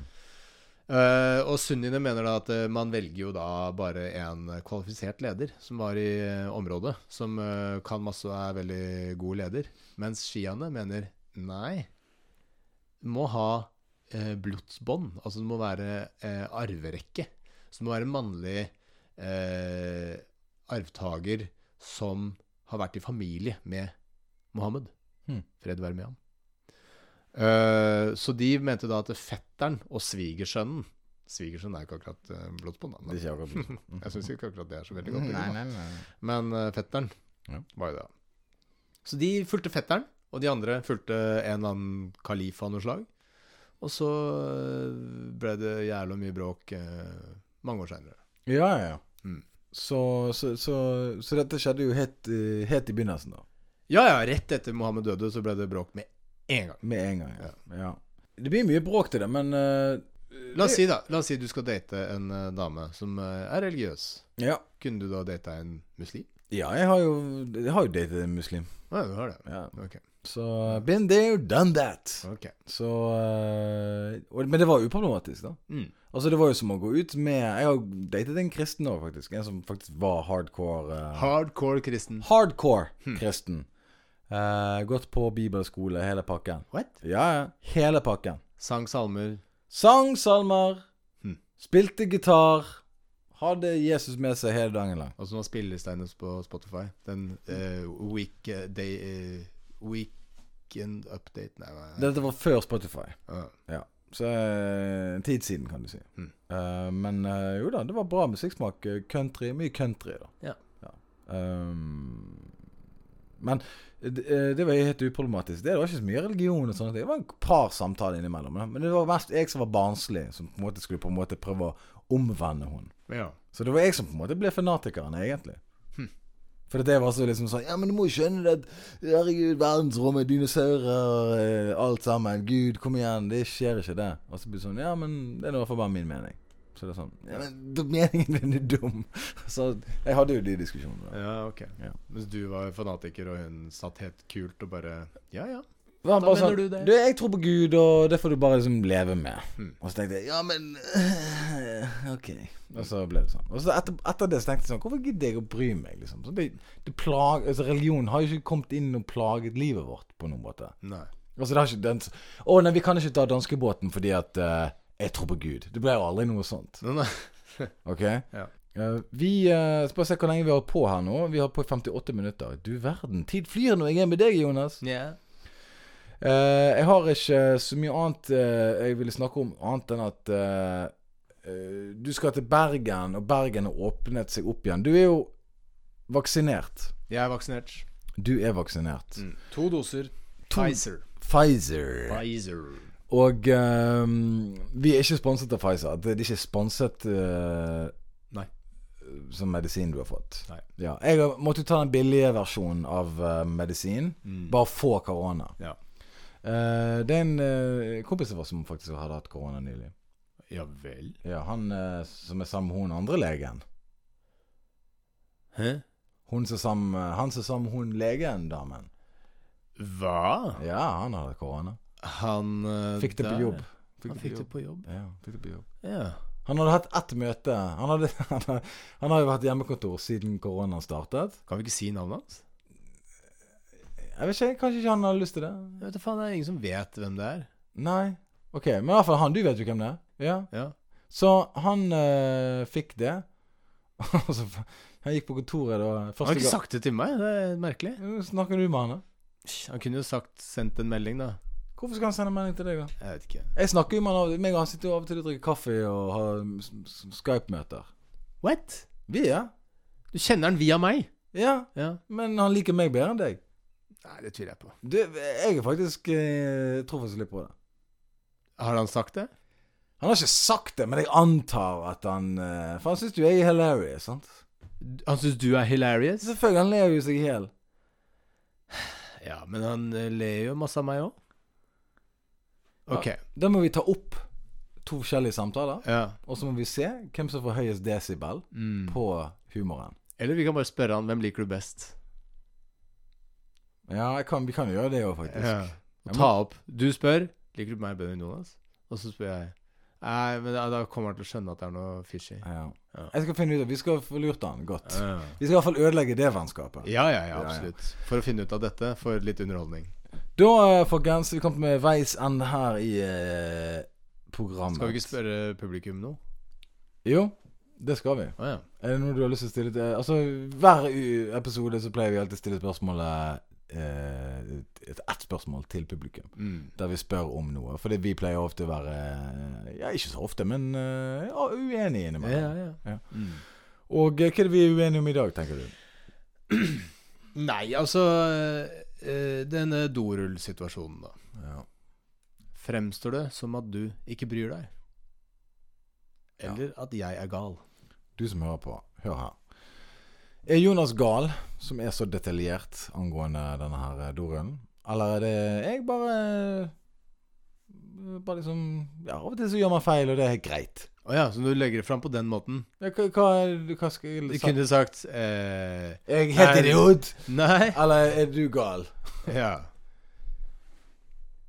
Eh, og Sunnine mener da at eh, man velger jo da bare en kvalifisert leder som var i eh, området, som eh, kan masse og er veldig god leder. Mens sjiaene mener nei, du må ha eh, blodsbånd. Altså det må være eh, arverekke. Så det må være en mannlig eh, arvtaker som har vært i familie med Mohammed.
Hmm.
Fred være med ham. Eh, så de mente da at fetteren og svigersønnen Svigersønnen er jo ikke akkurat eh, blodsbånd, da.
Det er ikke
Men
akkurat sånn.
Mm. jeg syns ikke akkurat det er så veldig
[laughs]
godt.
Nei,
begrunnet.
nei, nei.
Men eh, fetteren
Ja.
var jo det. Så de fulgte fetteren, og de andre fulgte en eller annen kalif av noe slag. Og så eh, ble det jævla mye bråk eh, mange år seinere.
Ja, ja, ja.
Mm.
Så, så, så, så dette skjedde jo helt, eh, helt i begynnelsen, da.
Ja, ja, rett etter Mohammed døde, så ble det bråk med en gang.
Med en gang. Ja. ja. Det blir mye bråk til det, men eh,
La oss si da, la oss si du skal date en eh, dame som eh, er religiøs.
ja.
Kunne du da data en muslim?
ja, jeg har jo Jeg har jo datet en muslim.
Ja, du har det.
Ja.
Ok.
Så been there, done that.
ok.
Så eh, og, Men det var uproblematisk, da.
Mm.
Altså Det var jo som å gå ut med Jeg har datet en kristen òg, faktisk. En som faktisk var hardcore. eh,
Hardcore kristen.
Hardcore kristen. Eh, gått på bibelskole, hele pakken.
What?
Ja, ja. Hele pakken.
Sang salmer.
Sang salmer.
Hmm.
Spilte gitar. Hadde Jesus med seg hele dagen lang.
Og så nå spilles det hennes på Spotify. Den eh, week, eh, day, eh, Weekend update Nei, nei, nei.
Dette var før Spotify.
Ah.
Ja. Så eh, en tid siden, kan du si.
Hmm.
Eh, men eh, jo da, det var bra musikksmak. Eh, Country. Mye country, da.
Ja.
Ehm, men det, eh, det var helt uproblematisk. Det var ikke så mye religion. og sånne ting Det var et par samtaler innimellom. da. Men det var mest jeg som var barnslig, som på en måte skulle på en måte prøve å omvende henne.
Ja.
Så det var jeg som på en måte ble fanatikeren, egentlig. For det var så liksom sånn Ja, men du må jo skjønne det at Herregud, verdensrommet, dinosaurer, eh, alt sammen. Gud, kom igjen. Det skjer ikke, det. Og så blir det sånn Ja, men det er nå i hvert fall bare min mening. Så det er sånn Ja, men da- meningen din er dum. [laughs] Så jeg hadde jo de diskusjonene. da.
ja, ok.
Ja.
Mens du var fanatiker, og hun satt helt kult og bare Ja, ja.
Det var
Da
bare
mener
sånn,
du det?
Du, jeg tror på Gud, og det får du bare liksom leve med.
Hmm.
Og så tenkte jeg Ja, men øh, Ok. Og så ble det sånn. Og så etter, etter det så tenkte jeg sånn Hvorfor gidder jeg å bry meg, liksom? Så det, det plag, altså, religion har jo ikke kommet inn og plaget livet vårt på noen måte.
Nei.
Altså, det har ikke den Å nei, vi kan ikke ta danskebåten fordi at eh, jeg tror på Gud. Det ble jo aldri noe sånt.
Nei, nei.
OK?
Ja.
Eh, vi uh, Skal bare se hvor lenge vi har på her nå. Vi har på i 58 minutter. Du verden. Tid flyr når jeg er med deg, Jonas. Eh, jeg har ikke så mye annet eh, jeg ville snakke om, annet enn at eh, eh, du skal til Bergen, og Bergen har åpnet seg opp igjen. Du er jo vaksinert.
Jeg er vaksinert.
Du er vaksinert.
Mm. To doser. Pfizer.
Pfizer.
Pfizer.
Og eh, vi er ikke sponset av Pfizer. Det er ikke sponset eh,
Nei.
som medisin du har fått.
Nei.
Ja. Jeg har- måtte jo ta den billige versjonen av eh, medisin.
Mm.
Bare få korona.
Ja.
Eh, det er en eh, kompis av oss som faktisk hadde hatt korona nylig.
Ja vel.
Ja, han eh, som er sammen med hun andre legen.
Hæ?
Hun som er sammen, med- han som er sammen med hun legen, damen.
Hva?
Ja, han hadde korona.
Han eh,
Fikk det på
der-
jobb.
Han fikk det på jobb.
Ja, fikk det på jobb.
Ja.
Han hadde hatt ett møte. Han, hadde, [laughs] han, har- han har jo hatt hjemmekontor siden koronaen startet.
Kan vi ikke si navnet hans?
Jeg vet ikke, Kanskje ikke han hadde lyst til det?
Jeg vet da faen, det er ingen som vet hvem det er.
Nei. Ok, men i hvert fall han. Du vet jo hvem det er. Ja.
Ja.
Så han eh, fikk det. [laughs] Og så f- Han gikk på kontoret da eh,
Han har
første
ikke
gang.
sagt det til meg, det er merkelig.
Jo, Snakker du med han da?
Han kunne jo sagt sendt en melding, da.
Hvorfor skal han sende melding til deg, da?
Jeg vet ikke.
Jeg snakker jo med han av meg og han sitter jo av og til og drikker kaffe og har s- s- Skype-møter.
What?
Vi, ja.
Du kjenner han via meg?
Ja,
Ja.
men han liker meg bedre enn deg.
Nei, det tviler jeg på.
Du, jeg er faktisk eh, Jeg tror faktisk litt på det.
Har han sagt det?
Han har ikke sagt det, men jeg antar at han eh, For han syns jo jeg er hilarious, sant?
Han syns du er hilarious?
Selvfølgelig, han ler jo seg i hjel.
Ja, men han eh, ler jo masse av meg òg. Ok.
Da må vi ta opp to forskjellige samtaler,
Ja.
og så må vi se hvem som får høyest desibel
Mm.
på humoren.
Eller vi kan bare spørre han hvem liker du best.
Ja, jeg kan, vi kan jo gjøre det òg, faktisk.
Ja. Og ta opp. Du spør liker du meg bedre enn Jonas, og så spør jeg Nei, men da, da kommer han til å skjønne at det er noe fishy.
Ja.
Ja.
Jeg skal finne ut av Vi skal få lurt han godt.
Ja,
Vi skal i hvert fall ødelegge det vennskapet.
ja, ja,
ja.
absolutt. For å finne ut av dette, for litt underholdning.
Da, eh, folkens, vi kom med veis ende her i eh, programmet.
Skal vi ikke spørre publikum nå?
Jo, det skal vi.
Å ja.
Er det noe du har lyst til å stille til Altså, hver u- episode så pleier vi alltid å stille spørsmålet eh, et- Ett spørsmål til publikum.
Mm.
Der vi spør om noe. Fordi vi pleier ofte å være eh, Ja, ikke så ofte, men eh, ja, uenige innimellom.
ja, ja.
Ja.
Mm.
Og eh, hva er det vi er uenige om i dag, tenker du?
Nei, altså eh, Denne dorullsituasjonen, da.
Ja.
Fremstår det som at du ikke bryr deg? Eller at jeg er gal?
Du som hører på, hør her. Er Jonas gal, som er så detaljert angående denne her eh, dorullen? Eller er det jeg bare eh, Bare liksom Ja, av og til så gjør man feil, og det er helt greit.
Å ja, så du legger det fram på den måten?
Ja, hva, hva, er- hva skal jeg
Du
liksom
kunne sagt eh,
Er jeg helt
Nei.
idiot?
Nei.
Eller er du gal?
[laughs] Ja.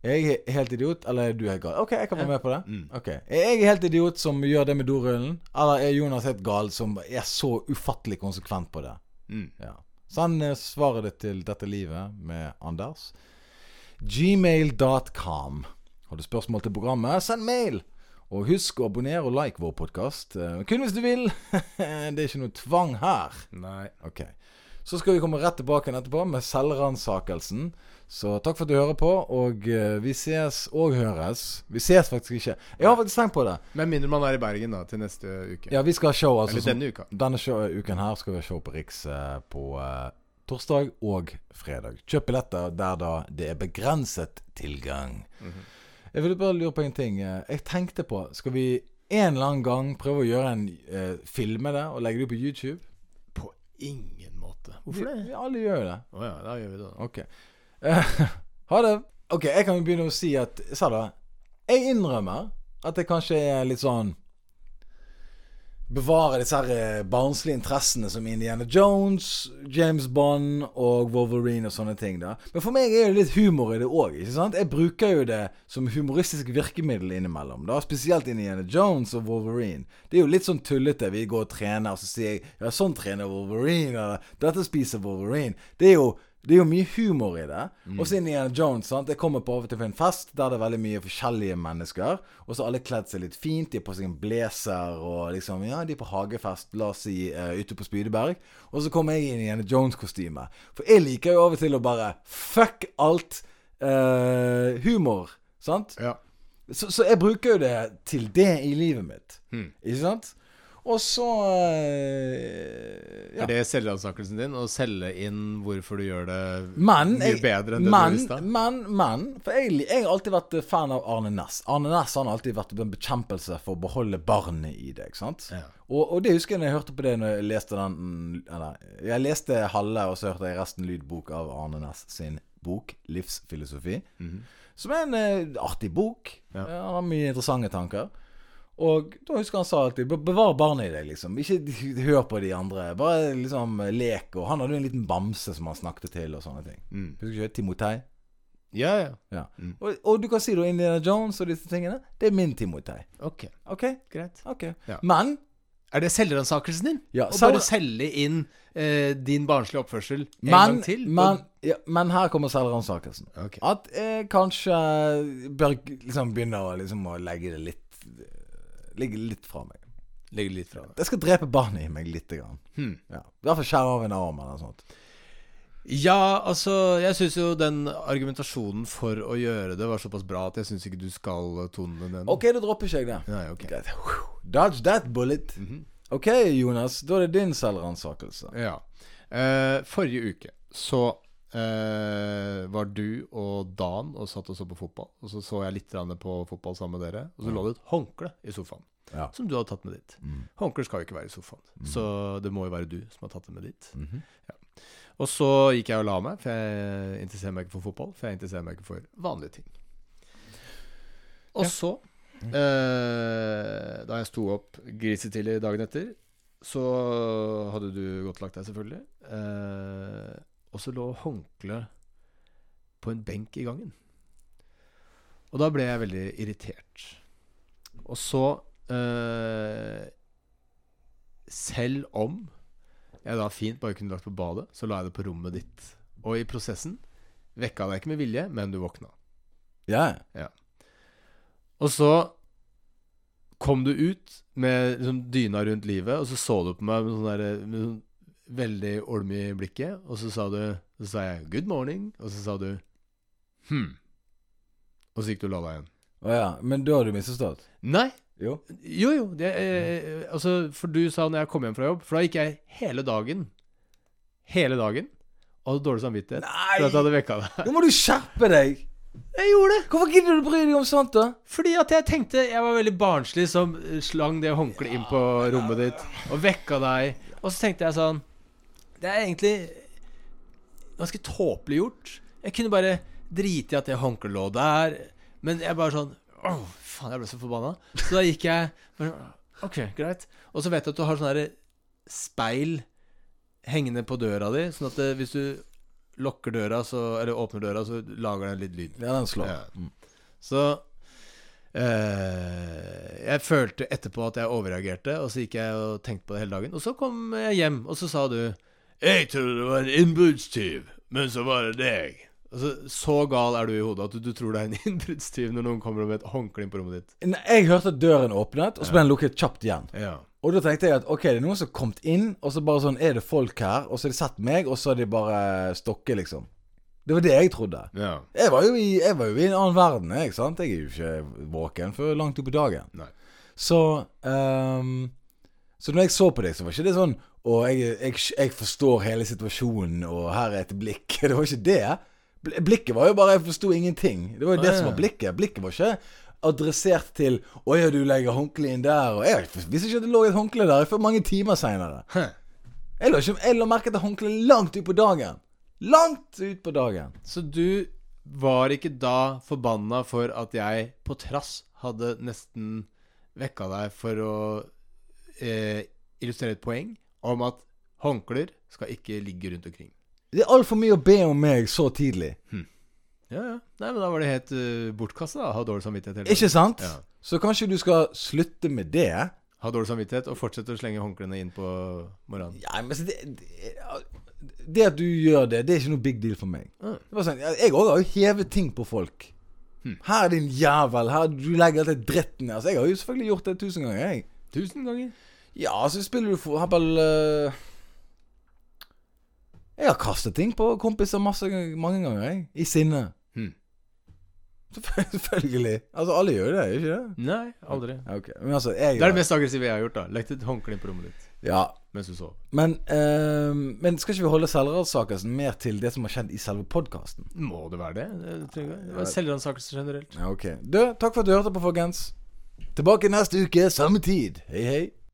Er jeg he- helt idiot, eller er du helt gal? OK, jeg kan være med på det.
Mm.
Ok, Er jeg helt idiot som gjør det med dorullen, eller er Jonas helt gal som er så ufattelig konsekvent på det?
Mm.
Ja. Send eh, svaret ditt til Dette livet med Anders. Gmail.com. Har du spørsmål til programmet, send mail! Og husk å abonnere og like vår podkast. Kun hvis du vil. [laughs] det er ikke noe tvang her.
Nei.
Ok. Så skal vi komme rett tilbake igjen etterpå med selvransakelsen. Så takk for at du hører på, og eh, vi ses og høres. Vi ses faktisk ikke. Jeg har faktisk tenkt på det.
Med mindre man er i Bergen da, til neste uke.
Ja, vi skal ha show, altså.
Eller
som-
denne uka.
denne show- uken her skal vi ha show på Riks eh, på eh, torsdag og fredag. Kjøp billetter der da det er begrenset tilgang. Jeg ville bare lure på en ting. eh, Jeg tenkte på Skal vi en eller annen gang prøve å gjøre en eh, filme det og legge det ut på YouTube?
På ingen måte.
Vi, vi alle gjør jo det.
Å ja, da gjør vi det, da.
Ok. [laughs] Eh, ha det. Ok, jeg kan jo begynne å si at Jeg sa det. Jeg innrømmer at jeg kanskje er litt sånn Bevarer disse her eh, barnslige interessene som Indiana Jones, James Bond og Wolverine og sånne ting. da Men for meg er det litt humor i det òg. Jeg bruker jo det som humoristisk virkemiddel innimellom. da Spesielt Indiana Jones og Wolverine. Det er jo litt sånn tullete. Vi går og trener, og så sier jeg Ja, sånn trener Wolverine. Eller dette spiser Wolverine. Det er jo det er jo mye humor i det. Og så Indiana Jones. sant? Jeg kommer på av og til på en fest der det er veldig mye forskjellige mennesker. Og så har alle kledd seg litt fint. De har på seg en blazer og liksom Ja, de er på hagefest, la oss si, eh, ute på Spydeberg. Og så kommer jeg i Indiana Jones-kostyme. For jeg liker jo av og til å bare fuck alt eh, humor. Sant?
Ja.
Så, så jeg bruker jo det til det i livet mitt. Ikke sant? Og så eh, ja.
Er det selvransakelsen din? Å selge inn hvorfor du gjør det
Men,
mye
jeg,
bedre enn det
men,
du visste?
men, men For jeg, jeg har alltid vært eh, fan av Arne Næss. Arne Næss han har alltid vært en bekjempelse for å beholde barnet i deg. ikke sant?
Ja.
Og, og det husker jeg når jeg hørte på det Når jeg leste den mm, Eller jeg leste halve, og så hørte jeg resten lydbok av Arne Næss sin bok 'Livsfilosofi'.
Mhm.
Som er en eh, artig bok.
Ja.
Eh, Han har mye interessante tanker. Og da husker jeg han sa alltid "Be- 'Bevar barnet i deg', liksom. Ikke [laughs] d- hør på de andre. Bare liksom eh, lek. Og han hadde jo en liten bamse som han snakket til, og sånne ting.
Mm.
Husker du ikke Timotei?
Ja, ja.
Ja.
Mm.
Og, og du kan si da Indiana Jones og disse tingene. Det er min Timotei.
Ok,
OK?
greit.
ok
Ja.
Men
Er det selvransakelsen din?
Ja,
Å
selv-
bare selge inn eh, din barnslige oppførsel en
men,
gang til?
men, Ah. ja, men her kommer selvransakelsen.
Ok.
At jeg kanskje bør liksom begynne å, liksom, å legge det litt Ligge litt fra meg.
Legg litt fra deg.
Jeg skal drepe barnet i meg lite grann.
Hmm.
Ja. I hvert fall skjære av en arm eller noe sånt.
Ja, altså, jeg syns jo den argumentasjonen for å gjøre det var såpass bra at jeg syns ikke du skal tone den.
OK, da dropper ikke jeg det.
Nei, ok.
Greit. Dodge that bullet.
Mm-hmm.
OK, Jonas. Da er det din selvransakelse.
Ja. Eh, forrige uke så eh, var du og Dan og satt og så på fotball. Og så så jeg litt grann på fotball sammen med dere, og så lå det et håndkle i sofaen.
Ja.
Som du hadde tatt med dit. Håndklær skal jo ikke være i sofaen, så det må jo være du som har tatt det med dit. ja. Og så gikk jeg og la meg, for jeg interesserer meg ikke for fotball. For jeg interesserer meg ikke for vanlige ting. Og så, eh, da jeg sto opp grisetidlig dagen etter, så hadde du godt lagt deg, selvfølgelig. Eh, og så lå håndkleet på en benk i gangen. Og da ble jeg veldig irritert. Og så eh, Selv om jeg da fint bare kunne lagt på badet, så la jeg det på rommet ditt. Og i prosessen vekka deg ikke med vilje, men du våkna.
Ja,
Og så kom du ut med liksom, dyna rundt livet, og så så du på meg med sånn der, med sånn veldig olme i blikket, og så sa du Så sa jeg 'good morning', og så sa du 'hm'. Og så gikk du og la deg igjen.
Å ja. Men da har du misforstått.
Nei,
Jo.
Jo, jo. Det, eh, altså, for du sa når jeg kom hjem fra jobb For da gikk jeg hele dagen. Hele dagen. Og hadde dårlig samvittighet.
Nei!
For at jeg hadde vekka deg.
Nå må du skjerpe deg!
Jeg gjorde det!
Hvorfor gidder du å bry deg om sånt, da?
Fordi at jeg tenkte Jeg var veldig barnslig som eh, slang det håndkleet inn på rommet ditt og vekka deg. Og så tenkte jeg sånn Det er egentlig ganske tåpelig gjort. Jeg kunne bare drite i at det håndkleet lå der. Men jeg bare sånn Åh, faen, jeg ble så forbanna. Så da gikk jeg bare, sånn, OK, greit. Og så vet jeg at du har sånn derre speil hengende på døra di, sånn at det, hvis du lukker døra, så, eller åpner døra, så lager den litt lyd.
Ja, den slår.
Ja. Mm. Så eh, jeg følte etterpå at jeg overreagerte, og så gikk jeg og tenkte på det hele dagen. Og så kom jeg hjem, og så sa du 'Jeg trodde det var en innbruddstyv, men så var det deg'. Altså, så gal er du i hodet at du, du tror det er en [laughs] innbruddstyv når noen kommer med et håndkle inn på rommet ditt.
Nei, Jeg hørte at døren åpnet, og så ble den lukket kjapt igjen.
Ja.
Og da tenkte jeg at ok, det er noen som har kommet inn, og så bare sånn er det folk her, og så har de sett meg, og så har de bare stokket, liksom. Det var det jeg trodde.
ja.
Jeg var jo i, jeg var jo i en annen verden, jeg, ikke sant? Jeg er jo ikke våken før langt opp i dagen.
Nei.
Så ehm, Så når jeg så på deg, så var ikke det sånn Å, jeg, jeg, jeg forstår hele situasjonen, og her er et blikk. [laughs] Det var ikke det. Bl- Blikket var jo bare Jeg forsto ingenting. Det var jo det som var blikket. Blikket var ikke adressert til Å ja, du legger håndkleet inn der, og Jeg visste ikke at det lå et håndkle der før mange timer seinere. Jeg la ikke- jeg la merke til håndkleet langt utpå dagen. Langt utpå dagen.
Så du var ikke da forbanna for at jeg på trass hadde nesten vekka deg for å eh, illustrere et poeng om at håndklær skal ikke ligge rundt omkring.
Det er altfor mye å be om meg så tidlig.
Ja, ja. Nei, men da var det helt uh, bortkasta å ha dårlig samvittighet hele
Ikke
tiden.
sant?
Ja.
Så kanskje du skal slutte med det?
Ha dårlig samvittighet og fortsette å slenge håndklærne inn på morgenen.
Ja, men så det, det, det at du gjør det, det er ikke noe big deal for meg.
Mm.
Det var sånn, ja, jeg òg har jo hevet ting på folk. Her, din jævel. Her, du legger all den dritten Altså, jeg har jo selvfølgelig gjort det tusen ganger, jeg.
Tusen ganger.
Ja, så spiller du for eksempel eh, Jeg har kastet ting på kompiser masse, mange ganger, jeg. I sinne.
Mm.
Selvfølgelig. Altså, alle gjør jo det, gjør ikke det?
Nei, aldri.
Ja, Ok, men altså jeg,
Det er det mest aggressive jeg har gjort. da Lagt et håndkle inn på rommet ditt
Ja,
mens du sov.
men, eh, men skal ikke vi holde selvradsakelsen mer til det som har skjedd i selve podkasten?
Må det være det? Det trenger ikke- det var Selvransakelse generelt.
Ja, ok. Du, takk for at du hørte på, folkens. Tilbake neste uke, samme tid. Hei, hei.